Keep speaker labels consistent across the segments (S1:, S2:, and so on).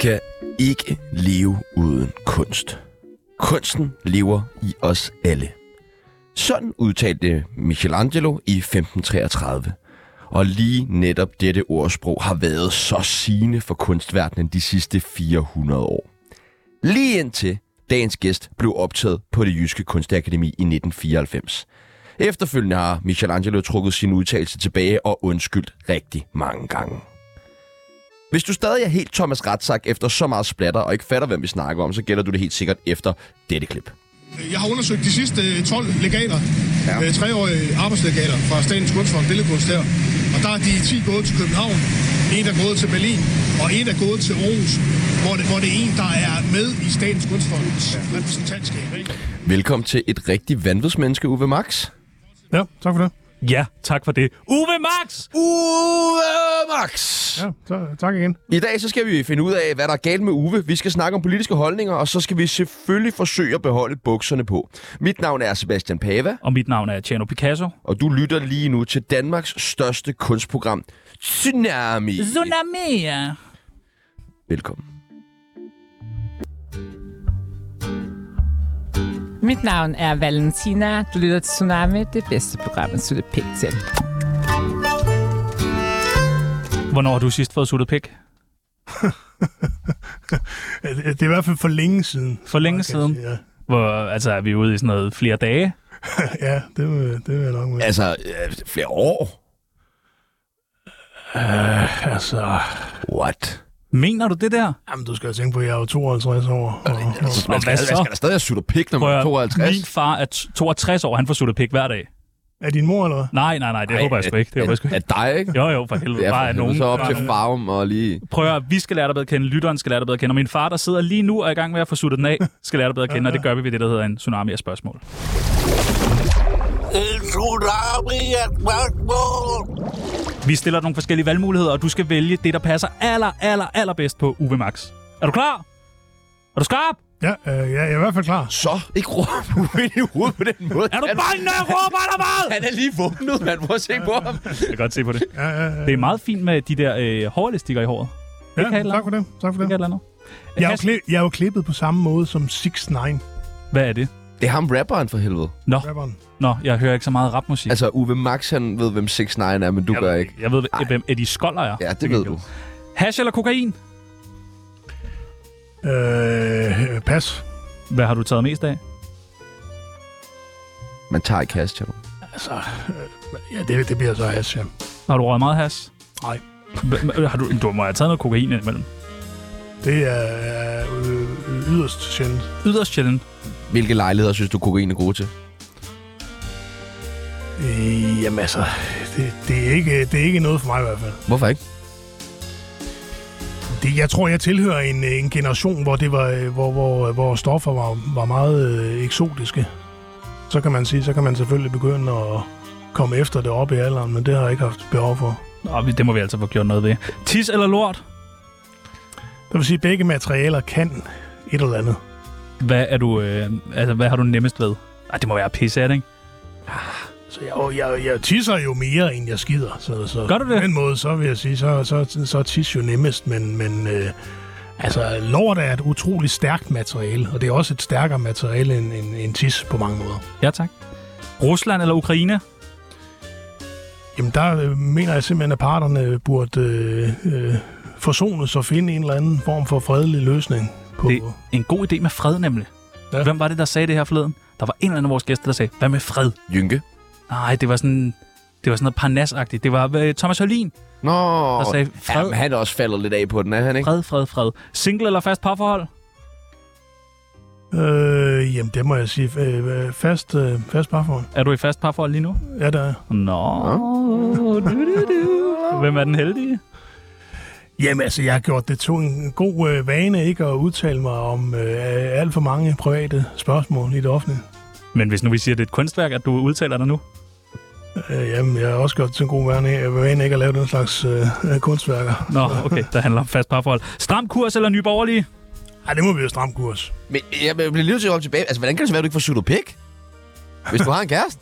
S1: kan ikke leve uden kunst. Kunsten lever i os alle. Sådan udtalte Michelangelo i 1533. Og lige netop dette ordsprog har været så sigende for kunstverdenen de sidste 400 år. Lige indtil dagens gæst blev optaget på det jyske kunstakademi i 1994. Efterfølgende har Michelangelo trukket sin udtalelse tilbage og undskyldt rigtig mange gange. Hvis du stadig er helt Thomas Ratzak efter så meget splatter og ikke fatter, hvem vi snakker om, så gælder du det helt sikkert efter dette klip.
S2: Jeg har undersøgt de sidste 12 legater, ja. treårige arbejdslegater fra Statens Kunstfond Billedkunst her. Og der er de 10 gået til København, en er gået til Berlin, og en er gået til Aarhus, hvor det, hvor det er en, der er med i Statens Kunstfonds ja. repræsentantskab. Ikke?
S1: Velkommen til et rigtig vanvidsmenneske, Uwe Max.
S3: Ja, tak for det.
S4: Ja, tak for det. Uwe Max!
S1: Uwe Max!
S3: Ja, så, tak igen.
S1: I dag så skal vi finde ud af, hvad der er galt med Uwe. Vi skal snakke om politiske holdninger, og så skal vi selvfølgelig forsøge at beholde bukserne på. Mit navn er Sebastian Pava,
S4: Og mit navn er Tjerno Picasso.
S1: og du lytter lige nu til Danmarks største kunstprogram, Tsunami.
S4: Tsunami, ja.
S1: Velkommen.
S5: Mit navn er Valentina. Du lytter til Tsunami, det bedste program, at slutte pæk til.
S4: Hvornår har du sidst fået suttet pik?
S3: Det det er i hvert fald for længe siden.
S4: For længe
S3: kan jeg
S4: siden?
S3: sige, Ja,
S4: Hvor, altså, er vi ude i sådan noget flere dage?
S3: ja det, vil, det vil jeg nok med.
S1: Altså, øh, flere år?
S4: Øh,
S3: Altså,
S1: What?
S4: Mener du det der?
S3: jamen, du skal jo tænke på, at jeg er jo 52 år. Og, og,
S1: Altså, man, skal,
S4: hvad
S1: man
S4: så?
S1: skal da stadig have sutter pik, når man
S4: Prøv
S1: er
S4: at-
S1: 52.
S4: Min far er t- 62 år, han får suttet pik hver dag.
S3: er din mor, eller hvad?
S4: Nej, nej, nej, det Ej, håber jeg sgu ikke. Det håber jeg sgu
S1: Er
S4: ikke.
S1: dig, ikke?
S4: Jo, jo, for helvede. Bare at nogen.
S1: så op til
S4: børn-
S1: farm og lige...
S4: Prøv at, vi skal lære dig bedre at kende, lytteren skal lære dig bedre at kende, og min far, der sidder lige nu og er i gang med at få suttet den af, skal lære dig bedre at kende, og det gør vi ved det, der hedder en tsunami af spørgsmål.
S6: Tsunami er et spørgsmål.
S4: Vi stiller dig nogle forskellige valgmuligheder, og du skal vælge det, der passer aller, aller, aller bedst på UV Max. Er du klar? Er du skarp?
S3: Ja, øh, ja, jeg er i hvert fald klar.
S1: Så ikke råbe ude i hovedet på den måde.
S4: Er du bange, når jeg råber, eller hvad?
S1: Han er lige vågnet, man. Prøv at se på ham.
S4: Jeg kan godt se på det.
S3: Ja, ja, ja.
S4: Det er meget fint med de der øh, hårelastikker i håret. Det kan et
S3: ja,
S4: eller
S3: tak for det. Tak for
S4: kan et
S3: det.
S4: eller andet.
S3: Jeg er, jo
S4: Has-
S3: klippet, jeg er jo klippet på samme måde som 6 9
S4: Hvad er det?
S1: Det er ham rapperen for helvede.
S4: Nå,
S3: rapperen
S4: nå, jeg hører ikke så meget rapmusik.
S1: Altså, Uwe Max, han ved, hvem 6 9 er, men du
S4: jeg,
S1: gør
S4: ved-
S1: ikke.
S4: Jeg ved, hvem Eddie Skoller er.
S1: Ja, det
S4: Til
S1: ved
S4: gengæld.
S1: du.
S4: Hash eller kokain?
S3: Øh, pas.
S4: Hvad har du taget mest af?
S1: Man tager i kast, jo.
S3: Ja, det, det bliver så has, ja.
S4: Har du røget meget hash?
S3: Nej.
S4: Hva- Har du, du må have taget noget kokain imellem.
S3: Det er øh, yderst sjældent.
S4: Yderst sjældent.
S1: Hvilke lejligheder synes du, kokain er gode til?
S3: Øh, jamen altså, det, det, er ikke, det er ikke noget for mig i hvert fald.
S1: Hvorfor ikke?
S3: Det, jeg tror, jeg tilhører en, øh, en generation, hvor, det var, øh, hvor, hvor, hvor stoffer var, var meget øh, eksotiske. Så kan man sige, så kan man selvfølgelig begynde at komme efter det op i alderen, men det har jeg ikke haft behov for.
S4: Nå, vi- det må vi altså få gjort noget ved. Tis eller lort?
S3: Det vil sige, at begge materialer kan et eller andet.
S4: Hvad er du, øh, altså, hvad har du nemmest ved? Ej, det må være pisse, er det ikke?
S3: Så jeg, og jeg, jeg tisser jo mere, end jeg skider. Så, så
S4: Gør du det?
S3: På den måde, så vil jeg sige, så, så, så er tis jo nemmest, men, men øh, altså, lort er et utroligt stærkt materiale, og det er også et stærkere materiale end, end, end tis på mange måder.
S4: Ja, tak. Rusland eller Ukraine?
S3: Jamen der øh, mener jeg simpelthen, at parterne burde øh, øh, forsones og finde en eller anden form for fredelig løsning. På.
S4: Det er en god idé med fred, nemlig. Ja.
S3: Uh-huh. Ja.
S4: Hvem var det, der sagde det her forleden? Der var en eller anden af vores gæster, der sagde, hvad med fred?
S1: Jynke.
S4: Nej, det var sådan... Det var sådan noget parnasagtigt. Det var øh, Thomas Hørlin,
S1: Nå,
S4: der sagde,
S1: ja,
S4: fred,
S1: men han er også faldet lidt af på den, er han ikke?
S4: fred, fred, fred. Single eller fast parforhold?
S3: Øh, jamen det må jeg sige. Øh, øh, fast, øh, fast parforhold.
S4: Er du i fast parforhold lige nu?
S3: Ja, der er.
S4: Nå. Du, du, du. Hvem er den heldige?
S3: Jamen altså, jeg har gjort det to en god øh, vane ikke at udtale mig om øh, alt for mange private spørgsmål i det offentlige.
S4: Men hvis nu vi siger, at det er et kunstværk, at du udtaler dig nu?
S3: Øh, jamen, jeg har også gjort det til en god vane, øh, vane ikke at lave den slags øh, øh, kunstværker.
S4: Nå, okay, der handler om fast parforhold. Stram kurs eller nyborgerlige?
S3: Ej, det må vi jo stramme kurs.
S1: Men jeg bliver lige til at holde tilbage. Altså, hvordan kan det så være, at du ikke får suttet pik? Hvis du har en kæreste?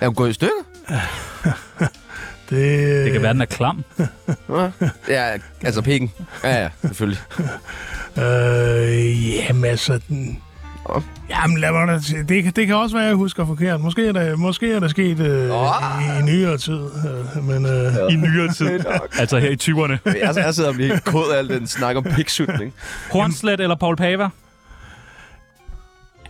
S1: er hun gået i stykker?
S3: Det, øh,
S4: Det kan være, den er klam.
S1: Ja, altså pikken. Ja, ja, selvfølgelig.
S3: Øh, jamen altså... Den,
S1: Nå.
S3: jamen lad mig da, se. det, kan- det kan også være, jeg husker forkert. Måske er der, måske er der sket øh,
S1: Åh.
S3: i, i nyere tid. Øh, men øh, ja.
S4: I nyere tid. altså her i 20'erne.
S1: Jeg, jeg sidder og bliver helt kod af al den snak om piksutning.
S4: Hornslet eller Paul Pava?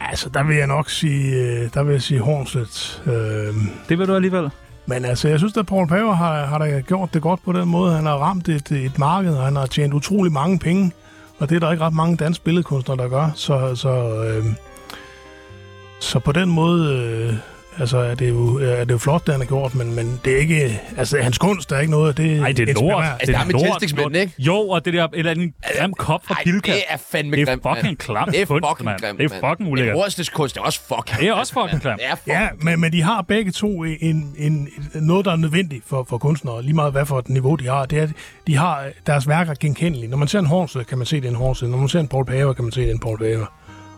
S3: altså, der vil jeg nok sige, øh, der vil jeg sige Hornslet. Øh,
S4: Det vil du alligevel.
S3: men altså, jeg synes, at Paul Paver har, har da gjort det godt på den måde. Han har ramt et, et marked, og han har tjent utrolig mange penge. Og det er der ikke ret mange danske billedkunstnere, der gør. Så, så, øh, så på den måde øh, altså, er, det jo, er det jo flot, det han har gjort, men, men det er ikke... Altså, hans kunst er ikke noget, det
S4: Nej, det er lort.
S3: inspirerer.
S1: Altså, der er med
S4: lort,
S1: tændstikspænden,
S4: lort.
S1: ikke? Altså,
S4: Jo, og det der eller en grim kop fra
S1: Ej,
S4: Bilka.
S1: det er fandme
S4: Det er
S1: grimt,
S4: fucking
S1: mand.
S4: klam
S1: Det er
S4: kunst,
S1: fucking
S4: mand.
S1: grimt,
S4: Det er
S1: mand.
S4: fucking ulækkert.
S1: Men Rustes kunst er også fucking
S4: Det er også
S1: grimt,
S4: fucking
S1: mand.
S4: klamt.
S1: Det er fucking
S3: Ja, men, men de har begge to en, en, en, noget, der er nødvendigt for, for kunstnere, lige meget hvad for et niveau de har. Det er, at de har øh, deres værker genkendelige. Når man ser en Hornslet, kan man se, det er en Hornslet. Når man ser en Paul Paver, kan man se, det er en Paul Paver.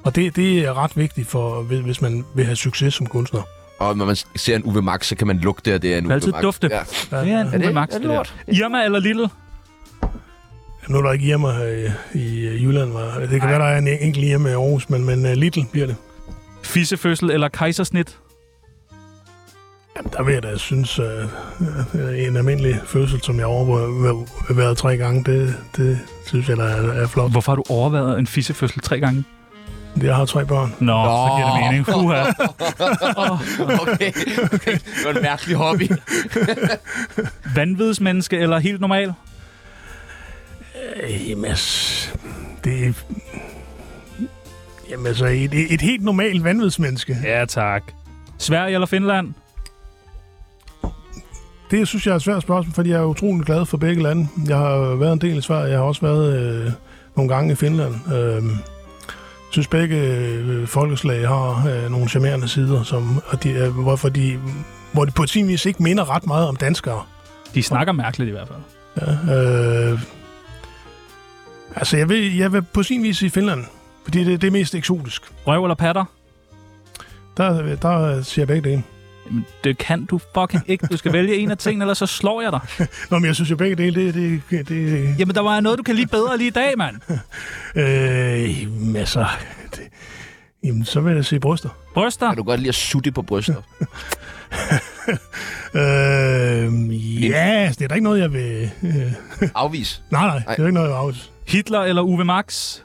S3: Og det, det er ret vigtigt, for, hvis- hvis man vil have succes som kunstner.
S1: Og når man ser en Uwe Max, så kan man lugte, at det er en
S4: kan
S1: Uwe
S4: altid
S1: Max.
S4: dufte.
S1: Ja.
S4: Det er en
S1: Er det-
S4: Uwe Max,
S1: er det
S4: det der.
S1: lort?
S4: Irma eller Lille?
S3: Nu er der ikke hjemme her i, i øh, Jylland. Var. Det kan Ej. være, der er en enkelt hjemme i Aarhus, men, men uh, Little bliver det.
S4: Fissefødsel eller kejsersnit?
S3: Jamen, der vil jeg da synes, uh, en almindelig fødsel, som jeg har overvæ- været tre gange, det, det synes jeg, der er, er flot.
S4: Hvorfor har du overvejet en fissefødsel tre gange?
S3: Jeg har tre børn.
S4: Nå, Nå. så giver det mening. Uha.
S1: Okay. okay. Det var en mærkelig hobby.
S4: Vanvidsmenneske eller helt normal?
S3: Øh, Jamen, altså, det er... Jamen, altså, et, et helt normalt vanvidsmenneske. Ja.
S4: Ja, tak. Sverige eller Finland?
S3: Det synes jeg er et svært spørgsmål, fordi jeg er utrolig glad for begge lande. Jeg har været en del i Sverige, jeg har også været øh, nogle gange i Finland. Øh, synes begge øh, folkeslag har øh, nogle charmerende sider, som, og de, øh, hvorfor de, hvor de på sin vis ikke minder ret meget om danskere.
S4: De snakker mærkeligt i hvert fald.
S3: Ja, øh, altså, jeg vil, jeg vil på sin vis sige Finland, fordi det, det er mest eksotisk.
S4: Røv eller patter?
S3: Der, der siger jeg begge dele.
S4: Jamen, det kan du fucking ikke. Du skal vælge en af tingene, eller så slår jeg dig.
S3: Nå, men jeg synes jo begge dele, det... det, det, det
S4: Jamen, der var noget, du kan lide bedre lige i dag, mand.
S3: øh, jamen, altså... Det, jamen, så vil jeg sige bryster.
S4: Bryster?
S1: Kan du godt lide at sutte på brystet?
S3: Øh, ja, yes, det er da ikke noget, jeg vil... Øh,
S1: Afvis.
S3: nej, nej, det er jo ikke noget, jeg vil afvise.
S4: Hitler eller Uwe Max?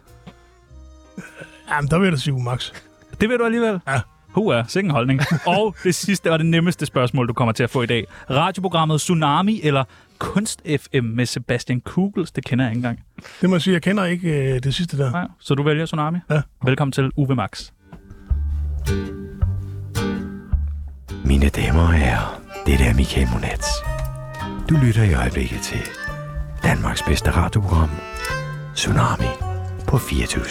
S3: Jamen, der vil jeg da sige Max.
S4: Det ved du alligevel.
S3: Ja.
S4: Hua, sikken holdning. Og det sidste og det nemmeste spørgsmål, du kommer til at få i dag. Radioprogrammet Tsunami eller Kunst FM med Sebastian Kugels? Det kender jeg ikke engang.
S3: Det må jeg sige, jeg kender ikke øh, det sidste der.
S4: Nej, så du vælger Tsunami?
S3: Ja.
S4: Velkommen til Uwe Max.
S7: Mine damer og herrer, det er Michael Monats. Du lytter i øjeblikket til Danmarks bedste radioprogram, Tsunami på 24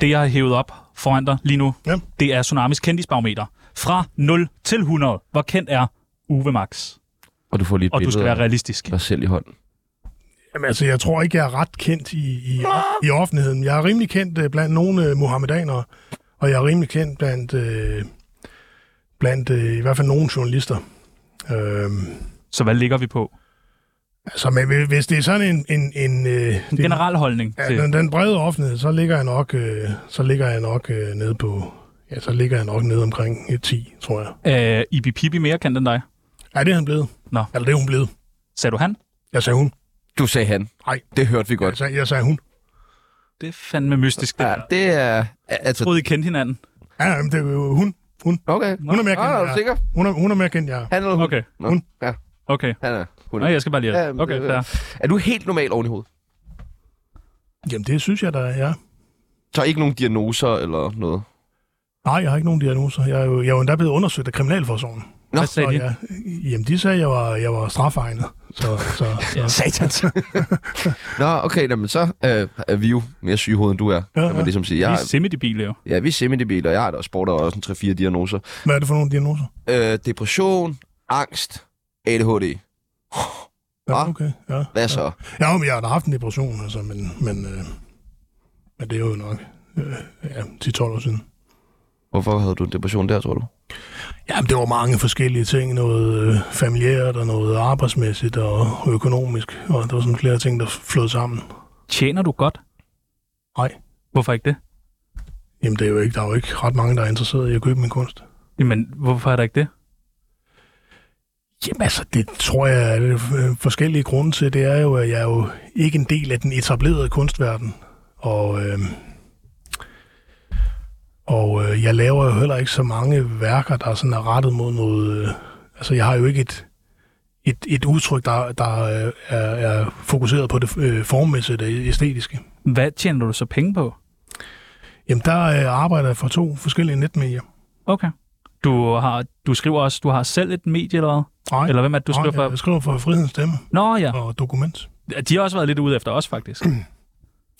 S4: Det, jeg har hævet op foran dig lige nu,
S3: Ja.
S4: det er Tsunamis kendisbarometer. Fra 0 til 100, hvor kendt er Uwe Max?
S1: Og du får lige et
S4: Og du skal
S1: billede
S4: være
S1: af
S4: realistisk.
S1: dig selv i hånden.
S3: Jamen, altså, jeg tror ikke, jeg er ret kendt i, i, i offentligheden. Jeg er rimelig kendt øh, blandt nogle øh, muhammedanere, og jeg er rimelig kendt blandt, øh, blandt øh, i hvert fald nogle journalister. Øh,
S4: Så hvad ligger vi på?
S3: Altså, men hvis- hvis det er sådan en... en, en øh,
S4: En
S3: det,
S4: generel holdning
S3: ja,
S4: til...
S3: den, den brede offentlighed, så ligger jeg nok, øh, så ligger jeg nok øh, nede på... Ja, så ligger jeg nok nede omkring øh, 10, tror jeg.
S4: Øh, Ibi Pibi mere kendt end dig.
S3: Er det er han blevet?
S4: Nå.
S3: Eller det er hun blevet.
S4: Sagde du han?
S3: Jeg sagde hun.
S1: Du sagde han.
S3: Nej.
S1: Det hørte vi godt.
S3: Jeg sagde, jeg sagde hun.
S4: Det er fandme mystisk, det
S1: Ja,
S4: ja. der.
S1: det er...
S4: Jeg
S1: Altså,
S4: troede, I kendte hinanden.
S3: Ja, jamen, det er jo hun.
S1: okay.
S3: Hun
S1: Ah,
S3: er mere
S1: er
S3: kendt,
S1: du
S3: end jeg.
S1: sikker?
S3: Hun er, hun er mere kendt, end jeg. er.
S1: Han eller hun?
S4: Okay,
S1: Nå,
S3: Hun.
S1: Ja,
S4: okay.
S1: han er. Hun
S4: Nå, jeg skal bare lige...
S1: Ja, men
S4: Okay,
S1: det-
S4: fair.
S1: Er du helt normal oven i hovedet?
S3: Jamen, det synes jeg, der er. Ja.
S1: Så ikke nogen diagnoser eller noget?
S3: Nej, jeg har ikke nogen diagnoser. Jeg er jo, jeg er jo endda blevet undersøgt af Kriminalforsorgen.
S1: Nå,
S4: Hvad sagde de?
S3: jeg, jamen, de sagde, jeg var, jeg var strafegnet. Så, så, så.
S7: Satans.
S1: Nå, okay, jamen, så øh, er vi jo mere syge i hovedet, end du er.
S3: Ja,
S1: Kan man
S3: ja.
S1: ligesom sige.
S4: Vi
S1: Jeg,
S4: er semidibiler jo.
S1: ja, vi er semidebiler, og jeg har da også sport og også en 3-4 diagnoser.
S3: Hvad er det for nogle diagnoser?
S1: Øh, depression, angst, ADHD.
S3: Ja,
S1: Hva?
S3: okay. Ja.
S1: Hvad så?
S3: Ja, men jeg har da haft en depression, altså, men, men, øh, men det er jo nok øh, ja, 10-12 år siden.
S1: Hvorfor havde du en depression der, tror du?
S3: Jamen, det var mange forskellige ting. Noget øh, familiært og noget arbejdsmæssigt og økonomisk. Og der var sådan flere ting, der flød sammen.
S4: Tjener du godt?
S3: Nej.
S4: Hvorfor ikke det?
S3: Jamen, det er jo ikke, der er jo ikke ret mange, der er interesseret i at købe min kunst.
S4: Jamen, hvorfor er der ikke det?
S3: Jamen altså, det tror jeg er det øh, forskellige grunde til. Det er jo, at jeg er jo ikke en del af den etablerede kunstverden. Og, øh, og øh, jeg laver jo heller ikke så mange værker, der sådan er rettet mod noget... Øh, altså, jeg har jo ikke et, et, et udtryk, der, der øh, er, er fokuseret på det øh, formmæssige, det æstetiske.
S4: Hvad tjener du så penge på?
S3: Jamen, der øh, arbejder jeg for to forskellige netmedier.
S4: Okay. Du, har, du skriver også, du har selv et medie eller hvad?
S3: Nej,
S4: Eller hvem er det, du
S3: nej,
S4: skriver for?
S3: jeg, jeg skriver for Frihedens Stemme
S4: Nå ja,
S3: og Dokument.
S4: de har også været lidt ude efter os faktisk.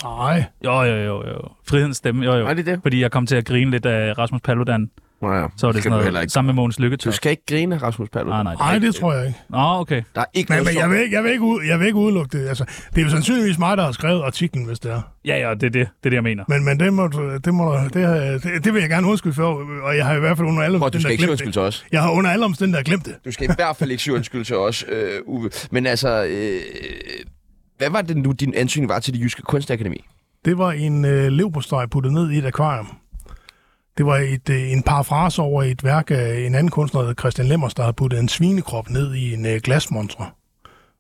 S3: Nej,
S4: Jo, jo, jo, jo. Frihedens stemme, jo, jo.
S1: Er det det?
S4: Fordi jeg kom til at grine lidt af Rasmus Paludan,
S1: Nå ja,
S4: så var det
S1: skal du
S4: sådan
S1: heller
S4: noget
S1: ikke.
S4: sammen med Mogens
S1: Du
S4: Lykketoft.
S1: skal ikke grine, Rasmus Paludan.
S4: Nej, nej. det-
S3: nej, det tror jeg ikke.
S4: Nå, okay.
S1: Der er ikke
S3: Men,
S1: noget
S3: men jeg,
S1: sjovt.
S3: vil ikke, jeg, vil ikke ud, jeg vil ikke udelukke det. Altså, det er jo sandsynligvis mig, der har skrevet artiklen, hvis det er.
S4: Ja, ja, det er det, det, er det jeg mener.
S3: Men, men det, må, du- det, må, du- det, har jeg- det, det vil jeg gerne undskylde for, og jeg har i hvert fald under alle
S1: Prøv, du skal
S3: omstændigheder
S1: ikke sige
S3: glemt
S1: undskyld
S3: det.
S1: til os.
S3: Jeg har under alle omstændigheder glemt det.
S1: Du skal i hvert fald ikke sige undskyld til os, øh, Uwe. Men altså, øh, hvad var det nu, din ansøgning var til det jyske kunstakademi?
S3: Det var en øh, leverpostej puttet ned i et akvarium. Det var et, øh, en parafras over et værk af en anden kunstner, der hed Christian Lemmers, der havde puttet en svinekrop ned i en øh, glasmontre.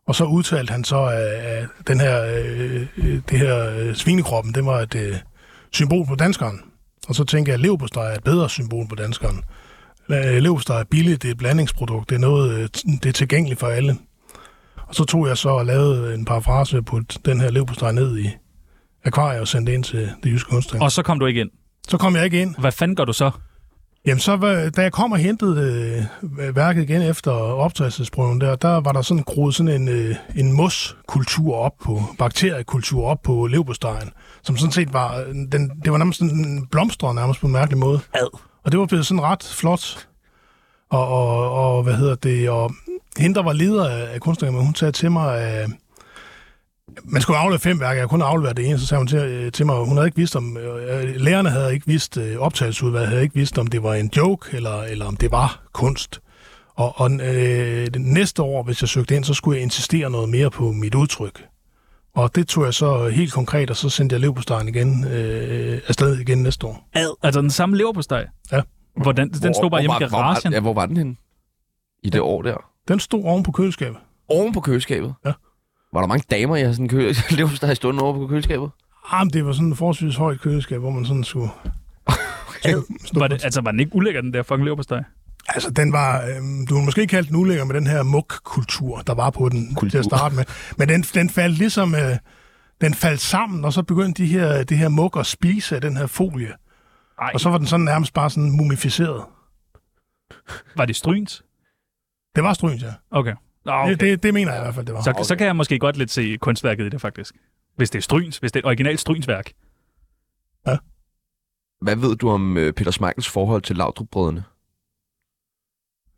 S3: Og så udtalte han så, at, at den her, øh, øh, det her øh, svinekroppen, det var et øh, symbol på danskeren. Og så tænker jeg, at leverpostej er et bedre symbol på danskeren. La- øh, Leverpostej er billigt, det er et blandingsprodukt, det er noget, øh, t- det er tilgængeligt for alle. Og så tog jeg så og lavede en parafrase på den her leverpostej ned i akvarie og sendt ind til det jyske kunstakademi.
S4: Og så kom du ikke ind.
S3: Så kom jeg ikke ind.
S4: Hvad fanden gør du så?
S3: Jamen så, var- da jeg kom og hentede øh, værket igen efter optagelsesprøven der, der var der sådan groet sådan en, øh, en moskultur op på, bakteriekultur op på leverpostejen, som sådan set var, øh, den, det var nærmest sådan en blomstret nærmest på en mærkelig måde. Ad. Og det var blevet sådan ret flot. Og, og, og hvad hedder det, og hende, der var leder af- af kunstakademiet, hun sagde til mig, øh, at man skulle aflevere fem værker, jeg kunne aflevere det ene, så sagde hun til, øh, til mig, hun havde ikke vidst om, øh, lærerne havde ikke vidst, øh, optagelsesudvalget havde ikke vidst, om det var en joke, eller, eller om det var kunst. Og, og øh, det næste år, hvis jeg søgte ind, så skulle jeg insistere noget mere på mit udtryk. Og det tog jeg så helt konkret, og så sendte jeg levpostegen igen, øh, afsted igen næste år.
S4: Ad. Altså den samme leverpostej?
S3: Ja.
S4: Hvordan, den stod bare hjemme i
S1: hvor, var-
S4: garagen.
S1: Hvor, ja, hvor var den henne? I det år der.
S3: Den stod oven på køleskabet.
S1: Oven på køleskabet?
S3: Ja.
S1: Var der mange damer, jeg sådan kø... der har stået over på køleskabet?
S3: Ah, men det var sådan et forholdsvis højt køleskab, hvor man sådan skulle... skulle
S4: Var
S3: stå på
S4: det, altså, var den ikke ulækker, den der fucking leverpostej?
S3: Altså, den var, øhm, du vil måske kalde den ulækker med den her muk-kultur, der var på den Kultur. til at starte med. Men den, den faldt ligesom, øh, den faldt sammen, og så begyndte de her, det her muk at spise af den her folie.
S4: Nej,
S3: Og så var den sådan nærmest bare sådan mumificeret.
S4: var det stryns?
S3: Det var stryns, ja.
S4: Okay. Nå, okay.
S3: Okay. Det, det, det, mener jeg i hvert fald, det var.
S4: Så, okay. så kan jeg måske godt lidt se kunstværket i det, faktisk. Hvis det er stryns, hvis det er et originalt strynsværk.
S1: Hvad ved du om øh, Peter Schmeichels forhold til Laudrup-brødrene?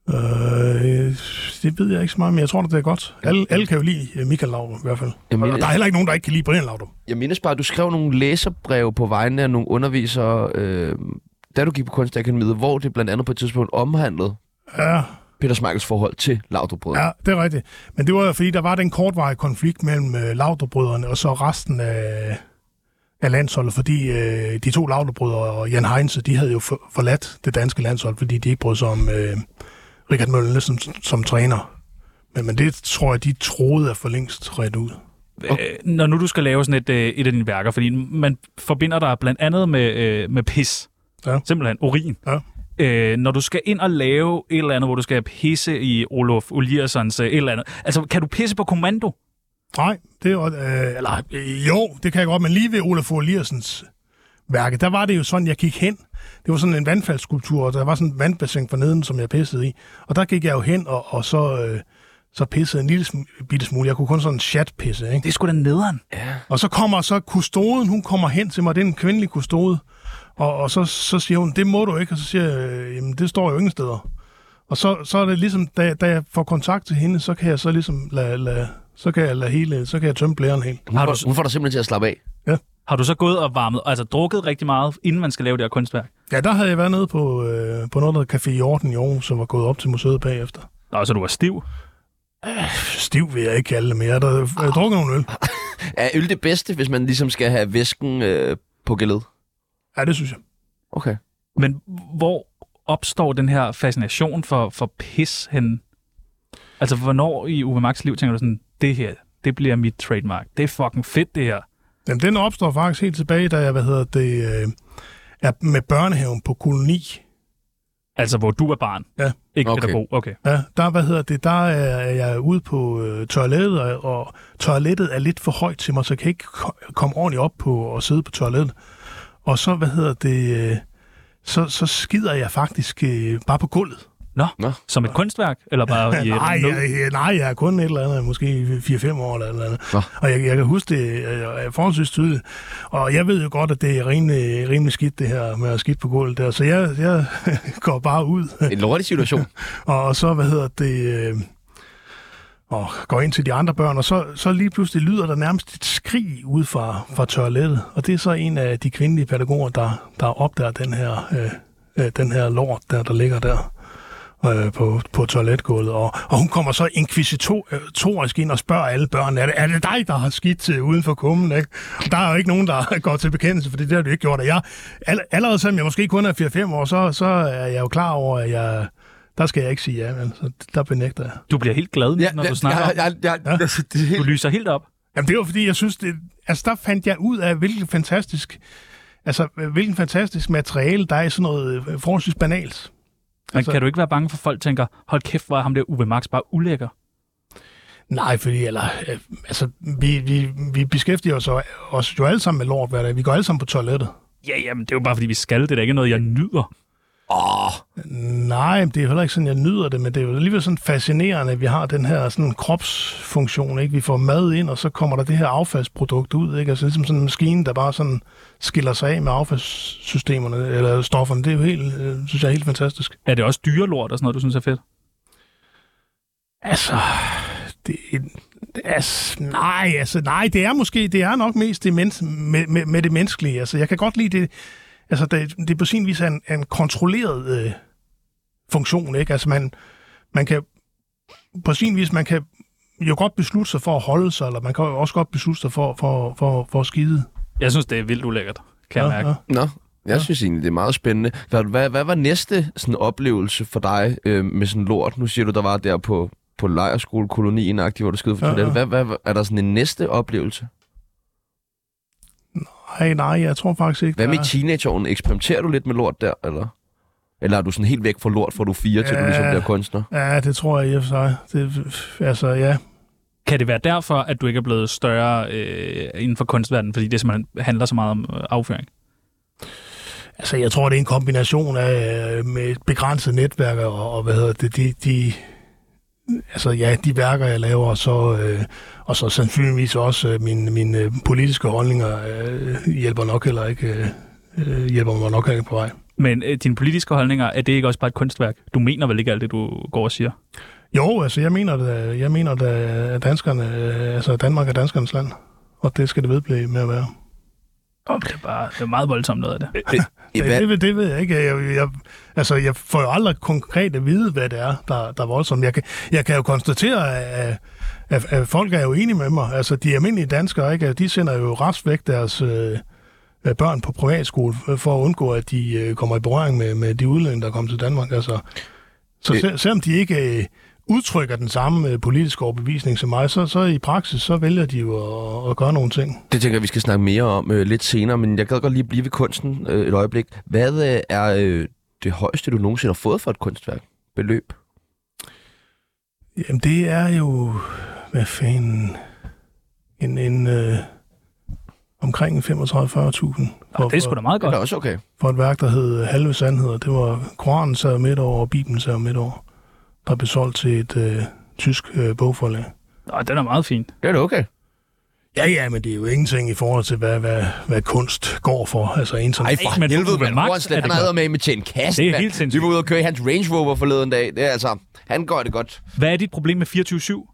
S3: Øh, det ved jeg ikke så meget, men jeg tror, det er godt. Alle, alle kan jo lide øh, Michael Laudrup i hvert fald.
S1: Jamen,
S3: Og der er
S1: jeg,
S3: heller ikke nogen, der ikke kan lide Brian Laudrup.
S1: jeg mindes bare, at du skrev nogle læserbreve på vegne af nogle undervisere, øh, da du gik på Kunstakademiet, hvor det blandt andet på et tidspunkt omhandlede
S3: Ja,
S1: Peter Schmeichels forhold til Laudrup-brødrene.
S3: Ja, det er rigtigt. Men det var jo, fordi, der var den kortvarige konflikt mellem øh, Laudrup-brødrene og så resten af, af landsholdet, fordi øh, de to Laudrup-brødre og Jan Heinze, de havde jo for, forladt det danske landshold, fordi de ikke brød sig om øh, Richard Møller som, som træner. Men, men det tror jeg, de troede er for længst ret ud.
S4: Øh, når nu du skal lave sådan et, øh, et af dine værker, fordi man forbinder dig blandt andet med, øh, med pis.
S3: Ja.
S4: Simpelthen urin.
S3: Ja.
S4: Øh, når du skal ind og lave et eller andet, hvor du skal pisse i Olof Oliersons øh, et eller andet. Altså, kan du pisse på kommando?
S3: Nej, det var, øh, eller, øh, jo, det kan jeg godt, men lige ved Olaf Oliersens værke, der var det jo sådan, jeg gik hen. Det var sådan en vandfaldsskulptur, og der var sådan et vandbassin for neden, som jeg pissede i. Og der gik jeg jo hen, og, og så, øh, så pissede en lille sm- bitte smule. Jeg kunne kun sådan chatpisse, ikke?
S4: Det er sgu da nederen.
S3: Og så kommer så kustoden, hun kommer hen til mig, det er en kvindelig kustode. Og, og så, så siger hun, det må du ikke, og så siger jeg, "Øh, jamen det står jo ingen steder. Og så, så er det ligesom, da, da jeg får kontakt til hende, så kan jeg så ligesom lade, lade, så kan jeg lade hele, så kan jeg tømme blæren helt.
S1: Hun,
S4: Har
S1: får,
S4: du-
S1: hun får dig simpelthen til at slappe af.
S4: Har du så gået og varmet, altså drukket rigtig meget, inden man skal lave det her kunstværk?
S3: Ja, der havde jeg været nede på, øh, på noget, der hedder Café Jorden i Aarhus, som var gået op til museet bagefter.
S4: Nå, så du var stiv.
S3: Stiv vil jeg ikke kalde det mere. Der jeg har drukket nogle øl.
S1: Er øl det bedste, hvis man ligesom skal have væsken øh, på gældet?
S3: Ja, det synes jeg.
S1: Okay.
S4: Men hvor opstår den her fascination for, for pis hen? Altså, hvornår i Uwe Max liv tænker du sådan, det her, det bliver mit trademark. Det er fucking fedt, det her.
S3: Jamen, den opstår faktisk helt tilbage, da jeg, hvad hedder det, øh, er med børnehaven på koloni.
S4: Altså, hvor du er barn.
S3: Ja.
S4: Ikke
S1: Okay.
S4: okay. pædagog. Okay.
S3: Ja, der, hvad hedder det, der er jeg ude på øh, toilettet, og, og toilettet er lidt for højt til mig, så jeg kan ikke ko- komme ordentligt op på og sidde på toilettet. Og så, hvad hedder det, øh, så, så skider jeg faktisk øh, bare på gulvet.
S4: Nå,
S1: Nå.
S4: Nå, som et kunstværk? Eller bare i et
S3: nej,
S4: nød?
S3: jeg, jeg, nej, jeg er kun et eller andet, måske 4-5 år eller et eller andet.
S1: Nå.
S3: Og jeg, jeg kan huske det øh, øh, forholdsvis tydeligt. Og jeg ved jo godt, at det er rimelig, rimelig skidt, det her med at skidte på gulvet der. Så jeg, jeg går bare ud
S1: En lortig situation.
S3: og så, hvad hedder det, øh, og går ind til de andre børn, og så, så lige pludselig lyder der nærmest et skrig ud fra, fra toilettet. Og det er så en af de kvindelige pædagoger, der, der opdager den her, øh, øh, den her lort, der, der ligger der øh, på, på toiletgulvet. Og, og hun kommer så inkvisitorisk ind og spørger alle børn, er det, er det dig, der har skidt øh, uden for kummen? Ikke? Og Der er jo ikke nogen, der går til bekendelse, for det har du ikke gjort. Og jeg, all, allerede selvom jeg måske kun er 4-5 år, så, så er jeg jo klar over, at jeg, der skal jeg ikke sige ja, vel? Så der benægter jeg.
S4: Du bliver helt glad, ja, når du snakker. Ja,
S1: jeg, jeg, jeg, jeg, altså, det er
S4: Du
S1: helt...
S4: lyser helt op.
S3: Jamen det var fordi, jeg synes, det, altså der fandt jeg ud af, hvilken fantastisk, altså hvilken fantastisk materiale, der er i sådan noget øh, forholdsvis banalt.
S4: Men
S3: Altså-
S4: altså, kan du ikke være bange for, at folk tænker, hold kæft, hvor er ham der Uwe Max bare ulækker?
S3: Nej, fordi eller, øh, altså, vi, vi, vi beskæftiger os, jo- os jo alle sammen med lort hver dag. Vi går alle sammen på toilettet.
S4: Ja, jamen, det er jo bare, fordi vi skal. Det er da ikke noget, jeg nyder.
S3: Nej, men det er heller ikke sådan, jeg nyder det, men det er jo alligevel sådan fascinerende, at vi har den her sådan kropsfunktion. Ikke? Vi får mad ind, og så kommer der det her affaldsprodukt ud. Ikke? Altså ligesom sådan en maskine, der bare sådan skiller sig af med affaldssystemerne, eller stofferne. Det er jo helt, øh, synes jeg, er helt fantastisk.
S4: Er det også dyrelort og sådan noget, du synes er fedt?
S3: Altså, det, altså, nej, altså, nej, det er måske, det er nok mest det mens, med, med, med, det menneskelige. Altså, jeg kan godt lide det, altså, det, det på sin vis er en, er en kontrolleret øh, funktion, ikke? Altså, man, man kan, på sin vis, man kan jo godt beslutte sig for at holde sig, eller man kan jo også godt beslutte sig for, for, for, for at skide.
S4: Jeg synes, det er vildt ulækkert, kan jeg mærke. Ja.
S1: Nå, jeg synes egentlig, det er meget spændende. Hvad, hvad, hvad var næste sådan, oplevelse for dig øh, med sådan lort? Nu siger du, der var der på, på lejerskolekolonien, hvor du skød for
S3: Ja,
S1: ja, ja.
S3: ja.
S1: Hvad, hvad, hvad, er der sådan en næste oplevelse?
S3: Nej, nej, jeg tror faktisk ikke.
S1: Hvad med
S3: der
S1: i
S3: er-
S1: teenageårene? Eksperimenterer du lidt med lort der, eller? Eller er du sådan helt væk fra lort, fra du er fire, til du ligesom
S3: Ja.
S1: bliver kunstner?
S3: Ja, det tror jeg i og for sig. Det, altså, ja.
S4: Kan det være derfor, at du ikke er blevet større øh, inden for kunstverdenen, fordi det simpelthen handler så meget om øh, afføring?
S3: Altså, jeg tror, det er en kombination af øh, med et begrænset netværk og, og hvad hedder det, de, de, altså, ja, de værker, jeg laver, og så, øh, og så sandsynligvis også øh, mine, mine øh, politiske holdninger øh, hjælper nok heller ikke, øh, øh, hjælper mig nok heller ikke på vej.
S4: Men øh, dine politiske holdninger, er det ikke også bare et kunstværk? Du mener vel ikke alt det, du går og siger?
S3: Jo, altså, jeg mener, da, jeg mener, da, at danskerne, øh, altså, Danmark er danskernes land, og det skal det vedblive med at være.
S4: Oh, det er bare det er meget voldsomt noget af det.
S1: I
S3: Det,
S1: hvad?
S3: det, ved- det ved jeg ikke. Jeg, jeg, altså, jeg får jo aldrig konkret at vide, hvad det er, der, der er voldsomt. Jeg kan, jeg kan jo konstatere, at, at, at folk er jo enige med mig. Altså, de almindelige danskere, ikke? de sender jo rask væk deres øh, øh, børn på privatskole, øh, for at undgå, at de øh, kommer i berøring med, med de udlændinge, der kommer til Danmark. Altså, så sel, selvom de ikke øh, udtrykker den samme øh, politiske overbevisning som mig, så, så i praksis, så vælger de jo at, at gøre nogle ting.
S1: Det tænker jeg, vi skal snakke mere om øh, lidt senere, men jeg gad godt lige blive ved kunsten øh, et øjeblik. Hvad øh, er øh, det højeste, du nogensinde har fået for et kunstværk? Beløb?
S3: Jamen, det er jo... Hvad fanden... En, en øh, omkring 35-40.000 for,
S4: Og det er sgu da
S3: for,
S4: meget
S1: Det er
S4: godt.
S1: da også okay.
S3: for et værk, der hed øh, Halve Sandheder. Det var Koranen sad midt over, og Bibelen sad midt over, der blev solgt til et øh, tysk øh, bogforlag.
S4: Nå, den er meget fin.
S1: Det er da okay.
S3: Ja, ja, men det er jo ingenting i forhold til, hvad, hvad, hvad kunst går for. Altså, en som...
S1: Ej, for
S4: men
S1: helvede,
S4: Uwe
S1: man.
S4: Max
S1: Hornslet,
S4: er
S1: han
S4: det
S1: havde
S4: godt.
S1: med med til en kasse,
S4: Det er
S1: mand.
S4: helt sindssygt.
S1: Vi var ude og køre i hans Range Rover forleden dag. Det er altså, han gør det godt.
S4: Hvad er dit problem med 24-7?